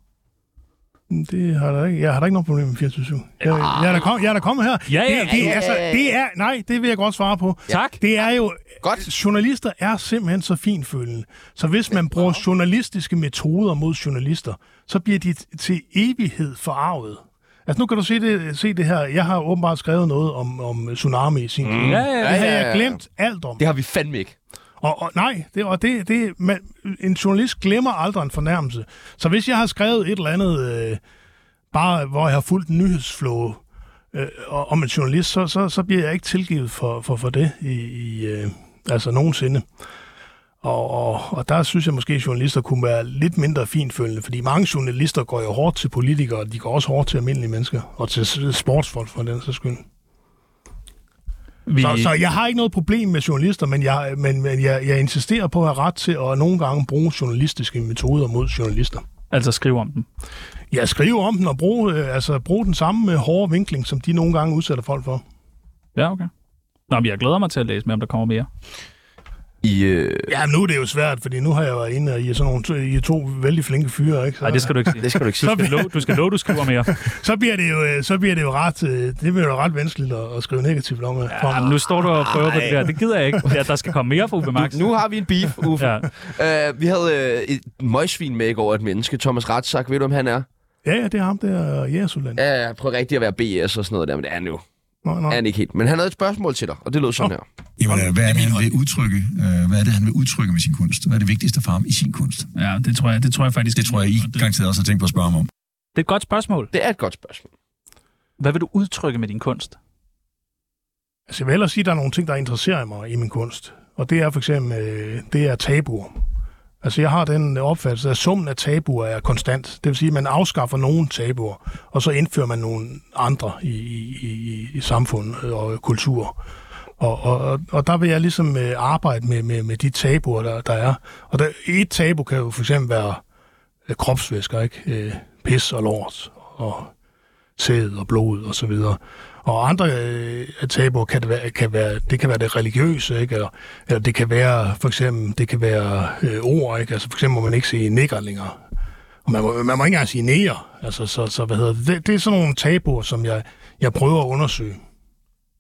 S3: Mm, Det har der ikke. Jeg har da ikke noget problem med 24 jeg, jeg, er da kom, jeg er da kommet her.
S4: Ah. Ja, ja,
S3: det, det,
S4: ja,
S3: er, altså,
S8: ja, ja.
S3: det er, nej, det vil jeg godt svare på.
S4: Tak.
S3: Det er jo,
S1: Godt.
S3: journalister er simpelthen så finfølende. Så hvis man bruger journalistiske metoder mod journalister, så bliver de t- til evighed forarvet. Altså nu kan du se det, se det her. Jeg har åbenbart skrevet noget om, om tsunami i sin tid.
S4: Mm. Ja, ja, ja.
S3: Det havde
S8: ja,
S3: jeg
S8: ja.
S3: glemt alt om.
S1: Det har vi fandme ikke.
S3: Og, og nej, det, og det, det, man, en journalist glemmer aldrig en fornærmelse. Så hvis jeg har skrevet et eller andet, øh, bare hvor jeg har fulgt en nyhedsflow øh, og- om en journalist, så, så, så bliver jeg ikke tilgivet for, for, for det i, i øh, altså nogensinde. Og, og, og der synes jeg måske, at journalister kunne være lidt mindre finfølende, fordi mange journalister går jo hårdt til politikere, og de går også hårdt til almindelige mennesker, og til s- sportsfolk for den sags skyld.
S4: Vi,
S3: Så, så jeg har ikke noget problem med journalister, men jeg, men, men jeg, jeg insisterer på at have ret til at nogle gange bruge journalistiske metoder mod journalister.
S4: altså skriv om dem.
S3: Jeg skriver om den og bruge, øh, altså, bruge den samme øh, hårde vinkling, som de nogle gange udsætter folk for.
S4: Ja, okay. Nå, men jeg glæder mig til at læse med, om der kommer mere.
S1: I, øh,
S3: Ja, men nu er det jo svært, fordi nu har jeg været inde, og I er, sådan nogle, I er to vældig flinke fyre, ikke? Så,
S4: Nej, det skal du ikke sige.
S1: det skal du ikke sige.
S4: Du skal love, du, skal love, du skriver mere.
S3: så, bliver det jo, øh, så bliver det jo ret, øh, det bliver jo ret vanskeligt at, at skrive negativt om. øh, Ja,
S4: Ja, men nu står du og prøver på det der. Det gider jeg ikke. Ja, der skal komme mere fra Uwe Max.
S1: Nu har vi en beef, Uffe.
S4: Ja.
S1: ja. uh, vi havde uh, et møgsvin med i går, et menneske. Thomas Ratzak, ved du, om han er?
S3: ja, ja, det er ham der, øh, Jægersuland. Ja.
S1: Ja, jeg prøver rigtig at være BS og sådan noget der, men det er han jo.
S3: Nå, nå.
S1: Er han ikke helt. Men han havde et spørgsmål til dig, og det lød sådan her.
S9: Jamen, øh, hvad er det, han vil udtrykke? øh, Hvad er det, han vil udtrykke med sin kunst? Hvad er det vigtigste for ham i sin kunst?
S10: Ja, det tror jeg, det tror jeg faktisk.
S9: Det tror jeg, I garanteret også har tænkt på at spørge ham om.
S4: Det er et godt spørgsmål.
S1: Det er et godt spørgsmål.
S4: Hvad vil du udtrykke med din kunst?
S3: Altså, jeg vil hellere sige, at der er nogle ting, der interesserer mig i min kunst. Og det er for eksempel, øh, det er tabuer. Altså, jeg har den opfattelse, at summen af tabuer er konstant. Det vil sige, at man afskaffer nogle tabuer, og så indfører man nogle andre i, i, i, i samfund og kultur. Og, og, og- og der vil jeg ligesom øh, arbejde med, med, med de tabuer, der, der er. Og der, et tabu kan jo for eksempel være øh, kropsvæsker, ikke? Øh, pis og lort og sæd og blod og så videre. Og andre øh, tabuer kan det, være, kan være, det kan være det religiøse, ikke? Eller, eller det kan være for eksempel det kan være øh, ord, ikke? Altså for eksempel må man ikke sige nigger længere. Og man må, man må ikke engang sige næger. Altså, så, så hvad hedder det? det? Det er sådan nogle tabuer, som jeg, jeg prøver at undersøge.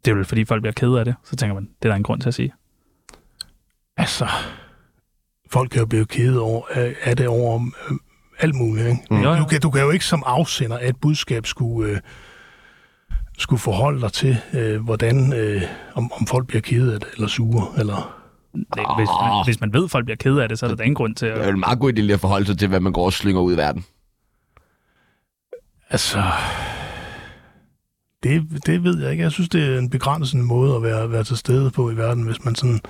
S4: Det er vel, fordi folk bliver kede af det. Så tænker man, det er der en grund til at sige.
S3: Altså, folk kan jo blive kede over, af, af det over om øh, alt muligt, ikke?
S4: Mm. Jo,
S3: Du
S4: jo.
S3: kan, du kan jo ikke som afsender af et budskab skulle, øh, skulle forholde dig til, øh, hvordan øh, om, om folk bliver kede af det, eller sure, eller...
S4: Det, hvis,
S1: Ah.
S4: man, hvis man ved, at folk bliver kede af det, så er der da ingen grund til
S1: Det er
S4: at...
S1: jo en meget god idé lige at forholde sig til, hvad man går og slynger ud i verden.
S3: Altså... Det, det ved jeg ikke. Jeg synes, det er en begrænsende måde at være, være til stede på i verden, hvis man sådan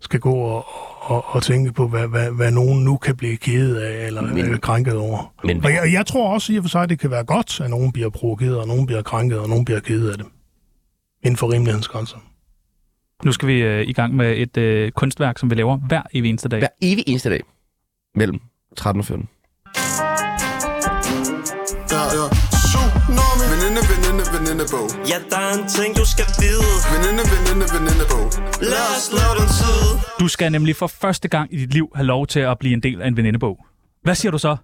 S3: skal gå og, og, og tænke på, hvad, hvad, hvad nogen nu kan blive kede af eller
S1: Men-
S3: Men. krænket over.
S1: Men
S3: Og jeg, jeg tror også i og for sig, at det kan være godt, at nogen bliver provokeret, og nogen bliver krænket, og nogen bliver kede af det. Inden for rimelighedens grænser.
S4: Nu skal vi øh, i gang med et øh, kunstværk, som vi laver hver evig eneste dag.
S1: hver evig eneste dag mellem 13 og 14.
S6: Ja, ja. Tsunami. Veninde, veninde, veninde bog.
S10: Ja, der er en ting, du skal vide.
S6: Veninde, veninde, veninde bog. Lad os lave den tid.
S4: Du skal nemlig for første gang i dit liv have lov til at blive en del af en venindebog. Hvad siger du så?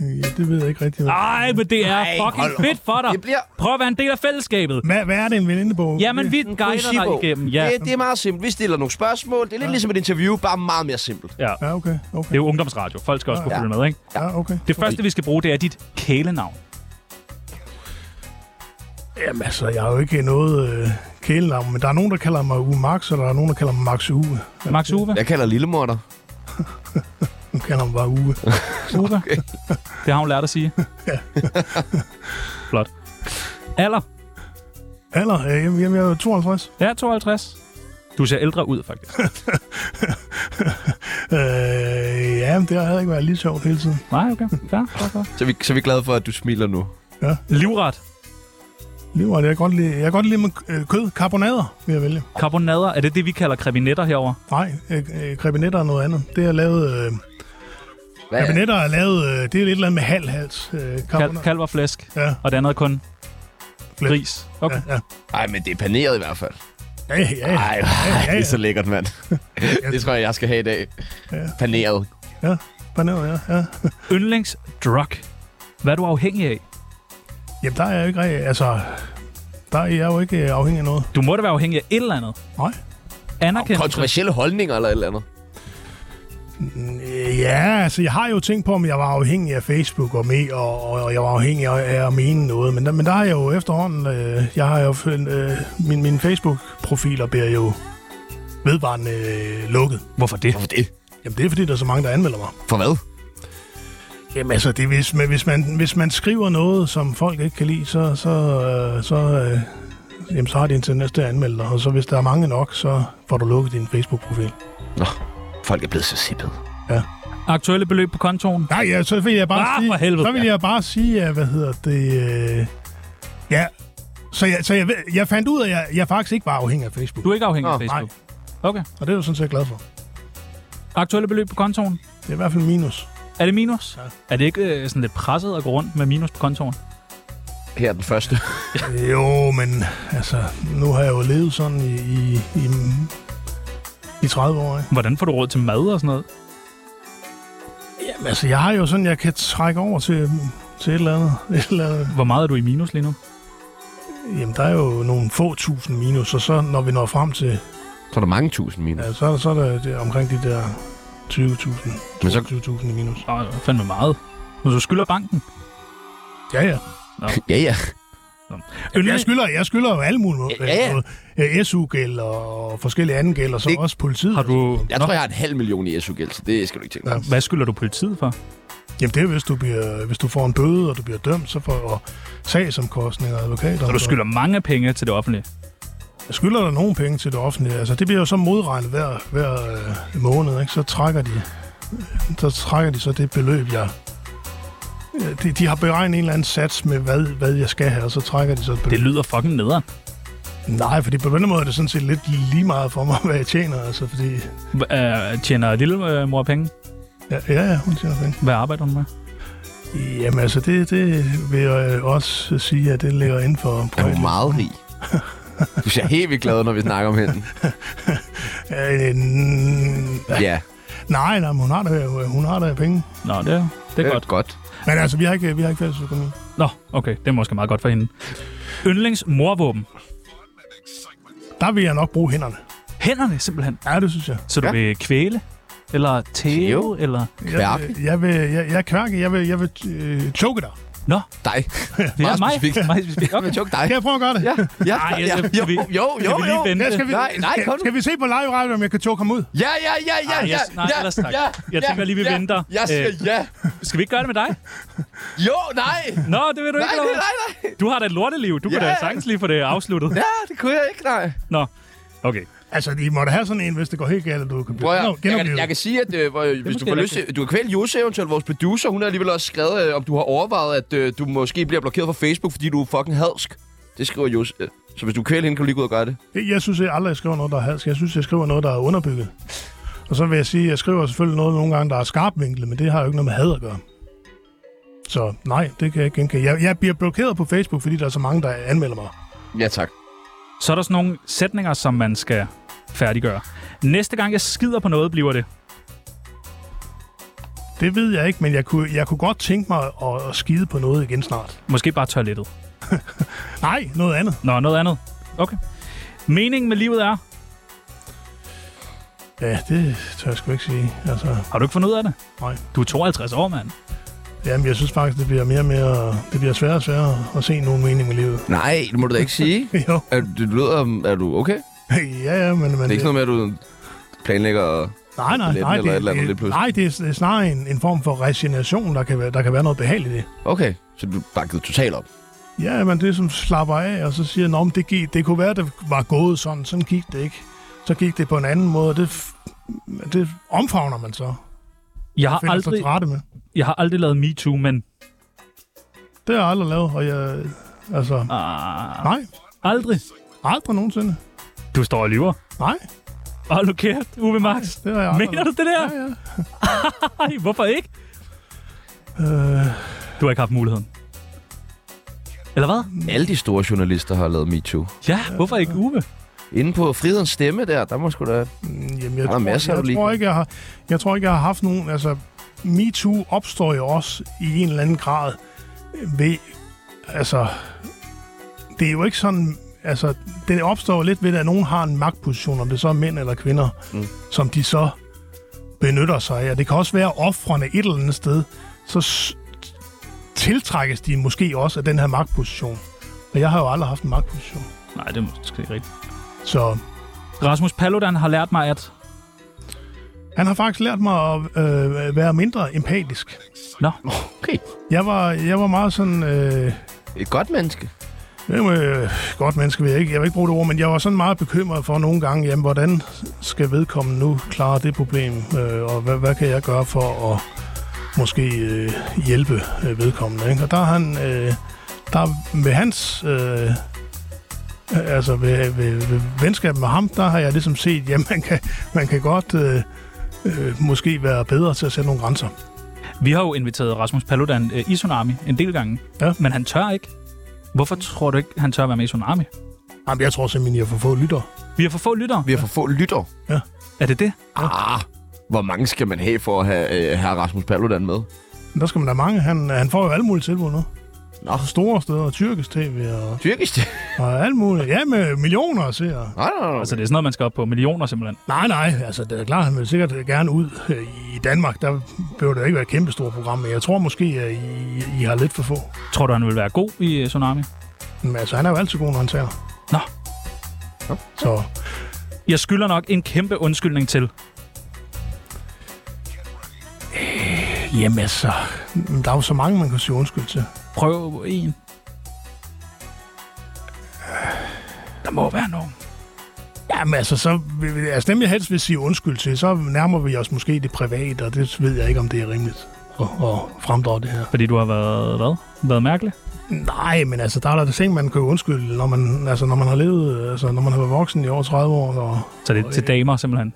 S3: Ja, det ved jeg ikke rigtig. Hvad,
S4: Ej, men det er fucking fedt for dig.
S1: Det bliver-
S4: Prøv at være en del af fællesskabet.
S3: hvad, hvad er det, en venindebog?
S4: Jamen, vi guider dig
S1: Principbog.
S4: igennem. Ja,
S1: Det, det er meget simpelt. Vi stiller nogle spørgsmål. Det er lidt ja. ligesom et interview, bare meget mere simpelt.
S4: ja.
S3: Ja, okay.
S4: Det
S3: okay.
S4: er jo ungdomsradio. Folk skal også kunne
S1: Ja.
S4: følge med, ikke?
S3: Ja, okay.
S4: Det første, vi skal bruge, det er dit kælenavn.
S3: Jamen altså, jeg har jo ikke noget øh, kælenavn, men der er nogen, der kalder mig U Max, og der er nogen, der kalder mig Max Uwe.
S4: Max Uwe.
S1: Jeg kalder lillemorder.
S3: Hun kalder mig bare Uwe.
S4: Uwe. Det har hun lært at sige. Flot. Alder?
S3: Alder? Øh, jamen, jamen, jeg er jo 52.
S4: Ja, 52. Du ser ældre ud, faktisk.
S3: Øh, ja, men det har heller ikke været lige sjovt hele tiden.
S4: Nej, okay. Ja, godt, godt.
S1: Så vi, så vi er glade for, at du smiler nu.
S4: Livret.
S3: Livret, jeg kan godt lide, jeg kan godt lide med øh, kød. Karbonader vil jeg vælge.
S4: Karbonader. Er det det, vi kalder krebinetter herover?
S3: Nej, øh, øh, krebinetter er noget andet. Det er lavet... Øh,
S1: Hvad er,
S3: krebinetter er lavet... Øh, det er et eller andet med halv hals. Øh,
S4: Kal-
S3: karbonader.
S4: kalv og flæsk.
S3: Ja.
S4: Og det andet er kun
S3: Flæsk.
S4: ris. Okay.
S3: Ja, ja.
S1: ej, men det er paneret i hvert fald.
S3: Ja, ja, ja.
S1: Ej, ej,
S3: ja.
S1: det er så lækkert, mand. det tror jeg, jeg skal have i dag. Paneret.
S3: Paneret, ja. ja.
S4: Yndlingsdrug. Hvad er du afhængig af?
S3: Jamen, der er jeg ikke rigtig... Altså, der er jeg jo ikke øh, afhængig af noget.
S4: Du må da være afhængig af et eller andet.
S3: Nej.
S4: Anerkendelse.
S1: Kontroversielle holdninger eller et eller andet.
S3: Øh, Ja, altså, jeg har jo tænkt på, om jeg var afhængig af Facebook og, med, og, og og jeg var afhængig af af at mene noget. Men der, men der har jeg jo efterhånden... Øh, jeg har jo... Øh, min, min Facebook-profiler bliver jo vedvarende øh, lukket.
S4: Hvorfor det?
S1: Hvorfor det?
S3: Jamen, det er fordi, der er så mange, der anmelder mig.
S1: For hvad?
S3: Jamen altså, det, er, hvis, man, hvis, man, hvis man skriver noget, som folk ikke kan lide, så, så, øh, så, øh, jamen, så har de en tendens til at anmelde dig. Og så hvis der er mange nok, så får du lukket din Facebook-profil.
S1: Nå, folk er blevet så sippet.
S4: Aktuelle beløb på kontoen.
S3: Nej, ja, så vil jeg bare
S4: Ah,
S3: sige...
S4: for helvede.
S3: Så vil jeg bare sige, ja, hvad hedder det... Øh, ja, så, jeg, så jeg, ved- jeg fandt ud af, at jeg, jeg faktisk ikke var afhængig af Facebook.
S4: Du er ikke afhængig af
S1: Nå,
S4: Facebook. Okay.
S3: Og det er jeg sådan set glad for.
S4: Aktuelle beløb på kontoen.
S3: Det er i hvert fald minus.
S4: Er det minus?
S3: Ja.
S4: Er det ikke øh, sådan lidt presset at gå rundt med minus på kontoen?
S1: Her er den første.
S3: jo, men altså, nu har jeg jo levet sådan i, i, i, i 30 år, ikke?
S4: Hvordan får du råd til mad og sådan noget?
S3: Jamen, altså, jeg har jo sådan, jeg kan trække over til, til et eller andet. Et eller andet.
S4: Hvor meget er du i minus lige nu?
S3: Jamen, der er jo nogle få tusind minus, og så når vi når frem til,
S1: Så er der mange tusind minus.
S3: ja, så, er der, så er der det, omkring de der 20.000,
S1: Men så-
S3: 20.000 i minus.
S4: Nå, det var fandme meget. Men du skylder banken.
S3: Ja, ja.
S1: Ja, ja.
S3: Jeg skylder, jeg skylder jo alle mulige
S1: Ja, ja.
S3: ja. SU-gæld og forskellige anden gæld, og så
S1: Det-
S3: også politiet.
S4: Har du...
S1: Jeg tror, jeg har en halv million i SU-gæld, så det skal du ikke tænke på.
S3: Ja.
S4: Hvad skylder du politiet for?
S3: Jamen, det er, hvis du, bliver, hvis du får en bøde, og du bliver dømt, så får og sagsomkostninger og advokater.
S4: Så du skylder mange penge til det offentlige.
S3: Jeg skylder der nogen penge til det offentlige. Altså, det bliver jo så modregnet hver, hver øh, måned, ikke? Så trækker de så trækker de så det beløb, jeg... Ja, De, de har beregnet en eller anden sats med, hvad, hvad jeg skal have, og så trækker de så et
S4: Det
S3: beløb.
S4: lyder fucking nederen.
S3: Det... Nej, fordi på den måde er det sådan set lidt lige meget for mig, hvad jeg tjener. Altså, fordi...
S4: Hva- øh, Tjener lille øh, mor penge?
S3: Ja, ja, ja hun tjener penge.
S4: Hvad arbejder hun med?
S3: Jamen altså, det, det vil jeg øh, også sige, at det ligger inden for...
S1: Er du meget rig? Du ser helt vildt glad, når vi snakker om hende.
S3: Øh, n-
S1: Ja,
S3: nej, nej, men hun har da, øh, hun har da penge.
S4: Nå, det, er- det er godt.
S1: godt.
S3: Men altså, vi har ikke, vi har ikke fælles økonomi.
S4: Nå, okay. Det er måske meget godt for hende. Yndlings morvåben.
S3: Der vil jeg nok bruge hænderne.
S4: Hænderne simpelthen.
S3: Ja, det synes jeg.
S4: Så du
S1: Ja.
S4: vil kvæle? Eller tæve?
S1: Tæve?
S4: Eller...
S1: Kværke?
S3: Jeg, vil- jeg vil, jeg, jeg kværke, jeg vil, jeg vil øh, choke dig.
S4: Nå,
S1: Dig.
S4: det er
S1: Meget
S4: mig.
S1: specifikt.
S4: Meget specifikt.
S1: Jeg
S4: Okay.
S1: vil choke dig.
S3: Kan jeg prøve at gøre det?
S1: Ja, ja,
S4: Ej,
S1: ja,
S4: jeg- skal
S1: jo,
S4: vi-
S1: jo, jo,
S4: skal vi lige
S1: jo.
S4: vente?
S3: Ja, skal vi,
S1: Nej, nej,
S3: skal,
S1: kom nu.
S3: skal vi se på live radio, om jeg kan choke ham ud?
S1: Ja, ja, ja, ja,
S4: Ej,
S1: ja,
S4: jeg- nej,
S1: ja,
S4: ellers tak.
S1: ja,
S4: Jeg tænker lige, vi
S1: ja,
S4: venter.
S1: Jeg siger
S4: Øh,
S1: ja.
S4: Skal vi ikke gøre det med dig?
S1: Jo, nej.
S4: Nå, det vil
S1: Nej,
S4: du ikke. eller
S1: nej,
S4: hvad?
S1: nej, nej.
S4: Du har da et lorteliv. Du kan
S1: Ja.
S4: da sagtens lige få det afsluttet.
S1: Ja, det kunne jeg ikke, nej.
S4: Nå, okay.
S3: Altså, I må da have sådan en, hvis det går helt galt, at du kan blive
S1: Prøv at, høre,
S3: genop-
S1: jeg, kan,
S3: genoplevet.
S1: jeg kan sige, at øh, hvor, hvis du
S4: måske
S1: får
S4: heller
S1: lyst til... Du kan kvæle Jose eventuelt, vores producer. Hun har alligevel også skrevet, øh, om du har overvejet, at øh, du måske bliver blokeret fra Facebook, fordi du er fucking hadsk. Det skriver Jose. Øh, Så hvis du kvæler hende, kan du lige gå ud og gøre det.
S3: Jeg, jeg synes jeg aldrig, jeg skriver noget, der er halsk. Jeg synes, jeg skriver noget, der er underbygget. Og så vil jeg sige, at jeg skriver selvfølgelig noget nogle gange, der er skarpvinklet, men det har jo ikke noget med had at gøre. Så nej, det kan jeg ikke genkende. Jeg, jeg bliver blokeret på Facebook, fordi der er så mange, der anmelder mig.
S1: Ja, tak.
S4: Så er der sådan nogle sætninger, som man skal færdiggøre. Næste gang, jeg skider på noget, bliver det.
S3: Det ved jeg ikke, men jeg kunne, jeg kunne godt tænke mig at, at skide på noget igen snart.
S4: Måske bare toilettet.
S3: Nej, noget andet.
S4: Nå, noget andet. Okay. Meningen med livet er...
S3: Ja, det tør jeg sgu ikke sige. Altså,
S4: Har du ikke fundet ud af det?
S3: Nej.
S4: Du er 52 år, mand.
S3: jamen, jeg synes faktisk, det bliver mere og mere... Det bliver sværere og sværere at se nogen mening med livet.
S1: Nej, det må du da ikke sige.
S3: jo,
S1: Er, du lyder... um, Er du okay?
S3: ja, ja, men... men
S1: Det er ikke noget med, at du planlægger... og-
S3: nej, nej,
S1: toiletten
S3: nej,
S1: eller et eller andet lige
S3: det, det,
S1: pludselig.
S3: nej, det er, det er snarere en, en form for resignation, der kan, være, der kan være noget behageligt i det.
S1: Okay, så du er bare givet totalt op.
S3: Ja, men det er som slapper af, og så siger jeg, "Nå, men det, gik, det kunne være, det var gået sådan, sådan gik det ikke. Så gik det på en anden måde, og det, f- det omfavner man så.
S4: Jeg har,
S3: Finder sig
S4: aldrig,
S3: til rette med.
S4: jeg har aldrig lavet MeToo, men
S3: Det har jeg aldrig lavet, og jeg... Altså,
S4: ah,
S3: nej,
S4: aldrig.
S3: aldrig nogensinde.
S4: Du står og lyver.
S3: Nej,
S4: Hold nu kæft, Uwe Max.
S3: det har jeg aldrig
S4: Mener du det der?
S3: Ja, ja.
S4: Ej, hvorfor ikke?
S3: Øh,
S4: Du har ikke haft muligheden. Eller hvad?
S1: Alle de store journalister har lavet MeToo.
S4: Mm. Ja, hvorfor ikke Uwe?
S1: Inde på Frihedens Stemme der, der må sgu da...
S3: Jamen, jeg,
S1: Er der
S3: tror,
S1: masser, du
S3: jeg,
S1: lige
S3: tror
S1: kan-
S3: ikke, jeg, har, jeg tror ikke, jeg har haft nogen... Altså, MeToo opstår jo også i en eller anden grad ved altså, det er jo ikke sådan, altså, det opstår jo lidt ved, at nogen har en magtposition, om det så er mænd eller kvinder, mm. som de så benytter sig af. Det kan også være, at offrene et eller andet sted, så s- tiltrækkes de måske også af den her magtposition. Og jeg har jo aldrig haft en magtposition.
S4: Nej, det er måske ikke rigtigt.
S3: Så
S4: Rasmus Paludan har lært mig, at...
S3: han har faktisk lært mig at øh, være mindre empatisk.
S4: Nå,
S1: Okay.
S3: Jeg var, jeg var meget sådan... Øh,
S1: Et godt menneske.
S3: Jamen, øh, godt menneske vil jeg ikke. Jeg vil ikke bruge det ord, men jeg var sådan meget bekymret for nogle gange, jamen, hvordan skal vedkommende nu klare det problem, øh, og hvad, hvad kan jeg gøre for at måske øh, hjælpe øh, vedkommende? Ikke? Og der er han, øh, der er med hans, øh, altså ved, ved, ved venskab med ham, der har jeg ligesom set, jamen, man kan, man kan godt øh, øh, måske være bedre til at sætte nogle grænser.
S4: vi har jo inviteret Rasmus Paludan øh, i Tsunami en del gange,
S3: Ja.
S4: men han tør ikke. Hvorfor tror du ikke, han tør være med i Tsunami?
S3: Jamen, jeg tror simpelthen, jeg får få lytter.
S4: Vi har for få lyttere.
S1: Vi har for få lytter.
S4: Er det det?
S1: Ah, hvor mange skal man have for at have, øh, have Rasmus Paludan med?
S3: Men Der skal man da mange. Han, han får jo alle mulige tilbud nu.
S1: Nå.
S3: Store steder, tyrkisk tv og,
S1: Tyrkisk?
S3: og alt muligt. Ja, med millioner af seere.
S1: nej, nej, nej.
S4: Altså, det er sådan noget, man skal op på millioner simpelthen.
S3: Nej, nej, altså det er klart, han vil sikkert gerne ud øh, i Danmark. Der behøver det jo ikke være et kæmpestort program, men jeg tror måske, at I, I har lidt for få.
S4: Tror du, han vil være god i øh, Tsunami?
S3: Men altså, han er jo altid god, når han taler.
S4: Nå.
S3: Så
S4: Jeg skylder nok en kæmpe undskyldning til.
S3: jamen altså, men der er jo så mange, man kan sige undskyld til.
S4: Prøv en. Der må være nogen.
S3: Jamen altså, så, altså dem jeg helst vil sige undskyld til, så nærmer vi os måske det private, og det ved jeg ikke, om det er rimeligt at, at fremdrage det her.
S4: Fordi du har været, hvad? Været mærkelig?
S3: Nej, men altså, der er der ting, man kan jo undskylde, når man, altså, når man har levet, øh, altså, når man har været voksen i over 30 år. Og,
S4: Så det er
S3: Øh.
S4: til damer simpelthen.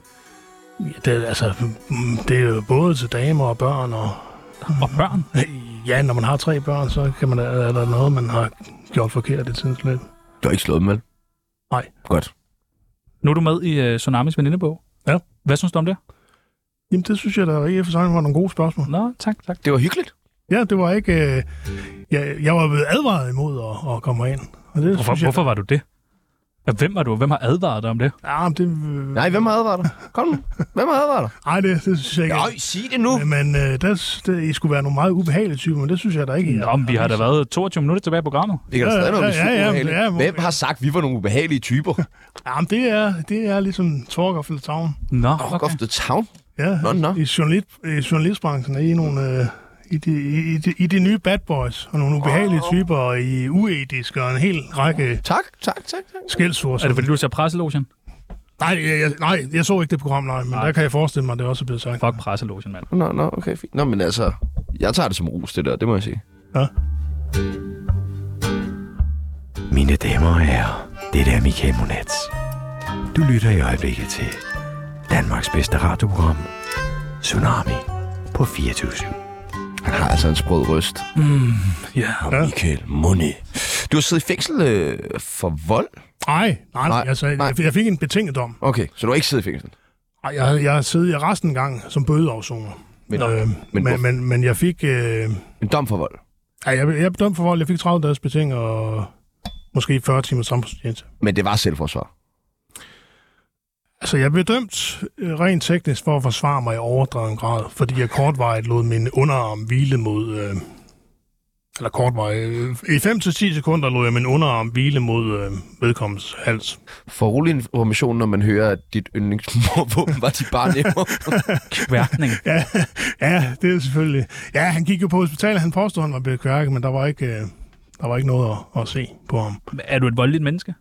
S3: ja, det, er, altså, mm, det er jo både til damer og børn, og
S4: Og børn?
S3: ja, når man har tre børn, så kan man, er der noget, man har gjort forkert i tidens løb.
S1: Du har ikke slået dem, vel?
S3: Nej.
S1: Godt.
S4: Nu er du med i øh, Tsunamis venindebog.
S3: Ja.
S4: Hvad synes du om det?
S3: Jamen, det synes jeg da i og for sig var nogle gode spørgsmål.
S4: Nå, tak, tak.
S1: Det var hyggeligt.
S3: Ja, det var ikke... Øh, jeg, jeg var blevet advaret imod at, at komme ind. Og det,
S4: Hvorfor,
S3: synes jeg,
S4: hvorfor var du det? Ja, Hvem var du? Hvem har advaret dig om det?
S3: Ja, men det, øh,
S1: Nej, hvem har advaret dig? Kom nu. Hvem har advaret dig?
S3: ej, det, det synes jeg ikke.
S1: Nej, sig det nu.
S3: Men øh, der, det, I skulle være nogle meget ubehagelige typer, men det synes jeg da ikke. I er.
S4: Nå, men vi har da været 22 minutter tilbage i programmet.
S1: Det kan da
S3: Ja,
S1: stadig
S3: ja,
S1: være, vi
S3: ja, ja,
S1: er super
S3: ja,
S1: ubehagelige.
S3: hvor-
S1: Hvem har sagt, at vi var nogle ubehagelige typer?
S3: Jamen, det er, det er ligesom Talk of the Town.
S4: Nå,
S1: Fuck off
S4: okay.
S1: the town.
S3: Ja,
S1: Nå, nå.
S3: I, journalist, i journalistbranchen er I nogle... Øh, i de, i, de, I de nye bad boys, og nogle ubehagelige typer, og I er uetiske, og en hel række
S1: Tak, tak, tak, tak.
S3: skældsord.
S4: Er det
S3: som-
S4: fordi, du ser presselogen?
S3: Nej, jeg, jeg, nej, jeg så ikke det program, nej, men nej. der kan jeg forestille mig, at det også er blevet sagt.
S4: Fuck presselogen, mand.
S1: Nå, nå, okay, fint. Nå, men altså, jeg tager det som ros, det der, det må jeg sige.
S7: Mine damer og herrer, det er Michael Monats. Du lytter i øjeblikket til Danmarks bedste radioprogram, Tsunami på 24
S1: Han har altså en sprød røst. Mm,
S4: Ja.
S1: Og Michael Money. Du har siddet i fængsel øh, for vold?
S3: Nej, nej,
S1: Nej,
S3: nej, altså,
S1: nej.
S3: Jeg, jeg fik en betinget dom.
S1: Okay, så du har ikke siddet i fængsel?
S3: Ej, Jeg, jeg sad i resten en gang som bødeafsoner.
S1: Men-
S3: øh,
S1: men
S3: men,
S1: hvor-
S3: men, men, men jeg fik... Øh,
S1: En dom for vold.
S3: ej, jeg, jeg blev dømt for vold, jeg fik 30 dages betinget, og måske 40 timer samfundstjeneste.
S1: Men det var selvforsvar.
S3: Altså, jeg blev dømt øh, rent teknisk for at forsvare mig i overdreven grad, fordi jeg kortvarigt lod min underarm hvile mod... Øh, eller kortvarigt... Øh, I 5-10 sekunder lod jeg min underarm hvile mod øh, vedkommens hals.
S1: For rolig information, når man hører, at dit yndlingsmorvåben var de bare nemmere.
S4: Værkning.
S3: Ja, ja, det er selvfølgelig... Ja, han gik jo på hospitalet, han påstod, han var blevet kværket, men der var ikke... Øh, der var ikke noget at, at se på ham.
S4: Er du et voldeligt menneske?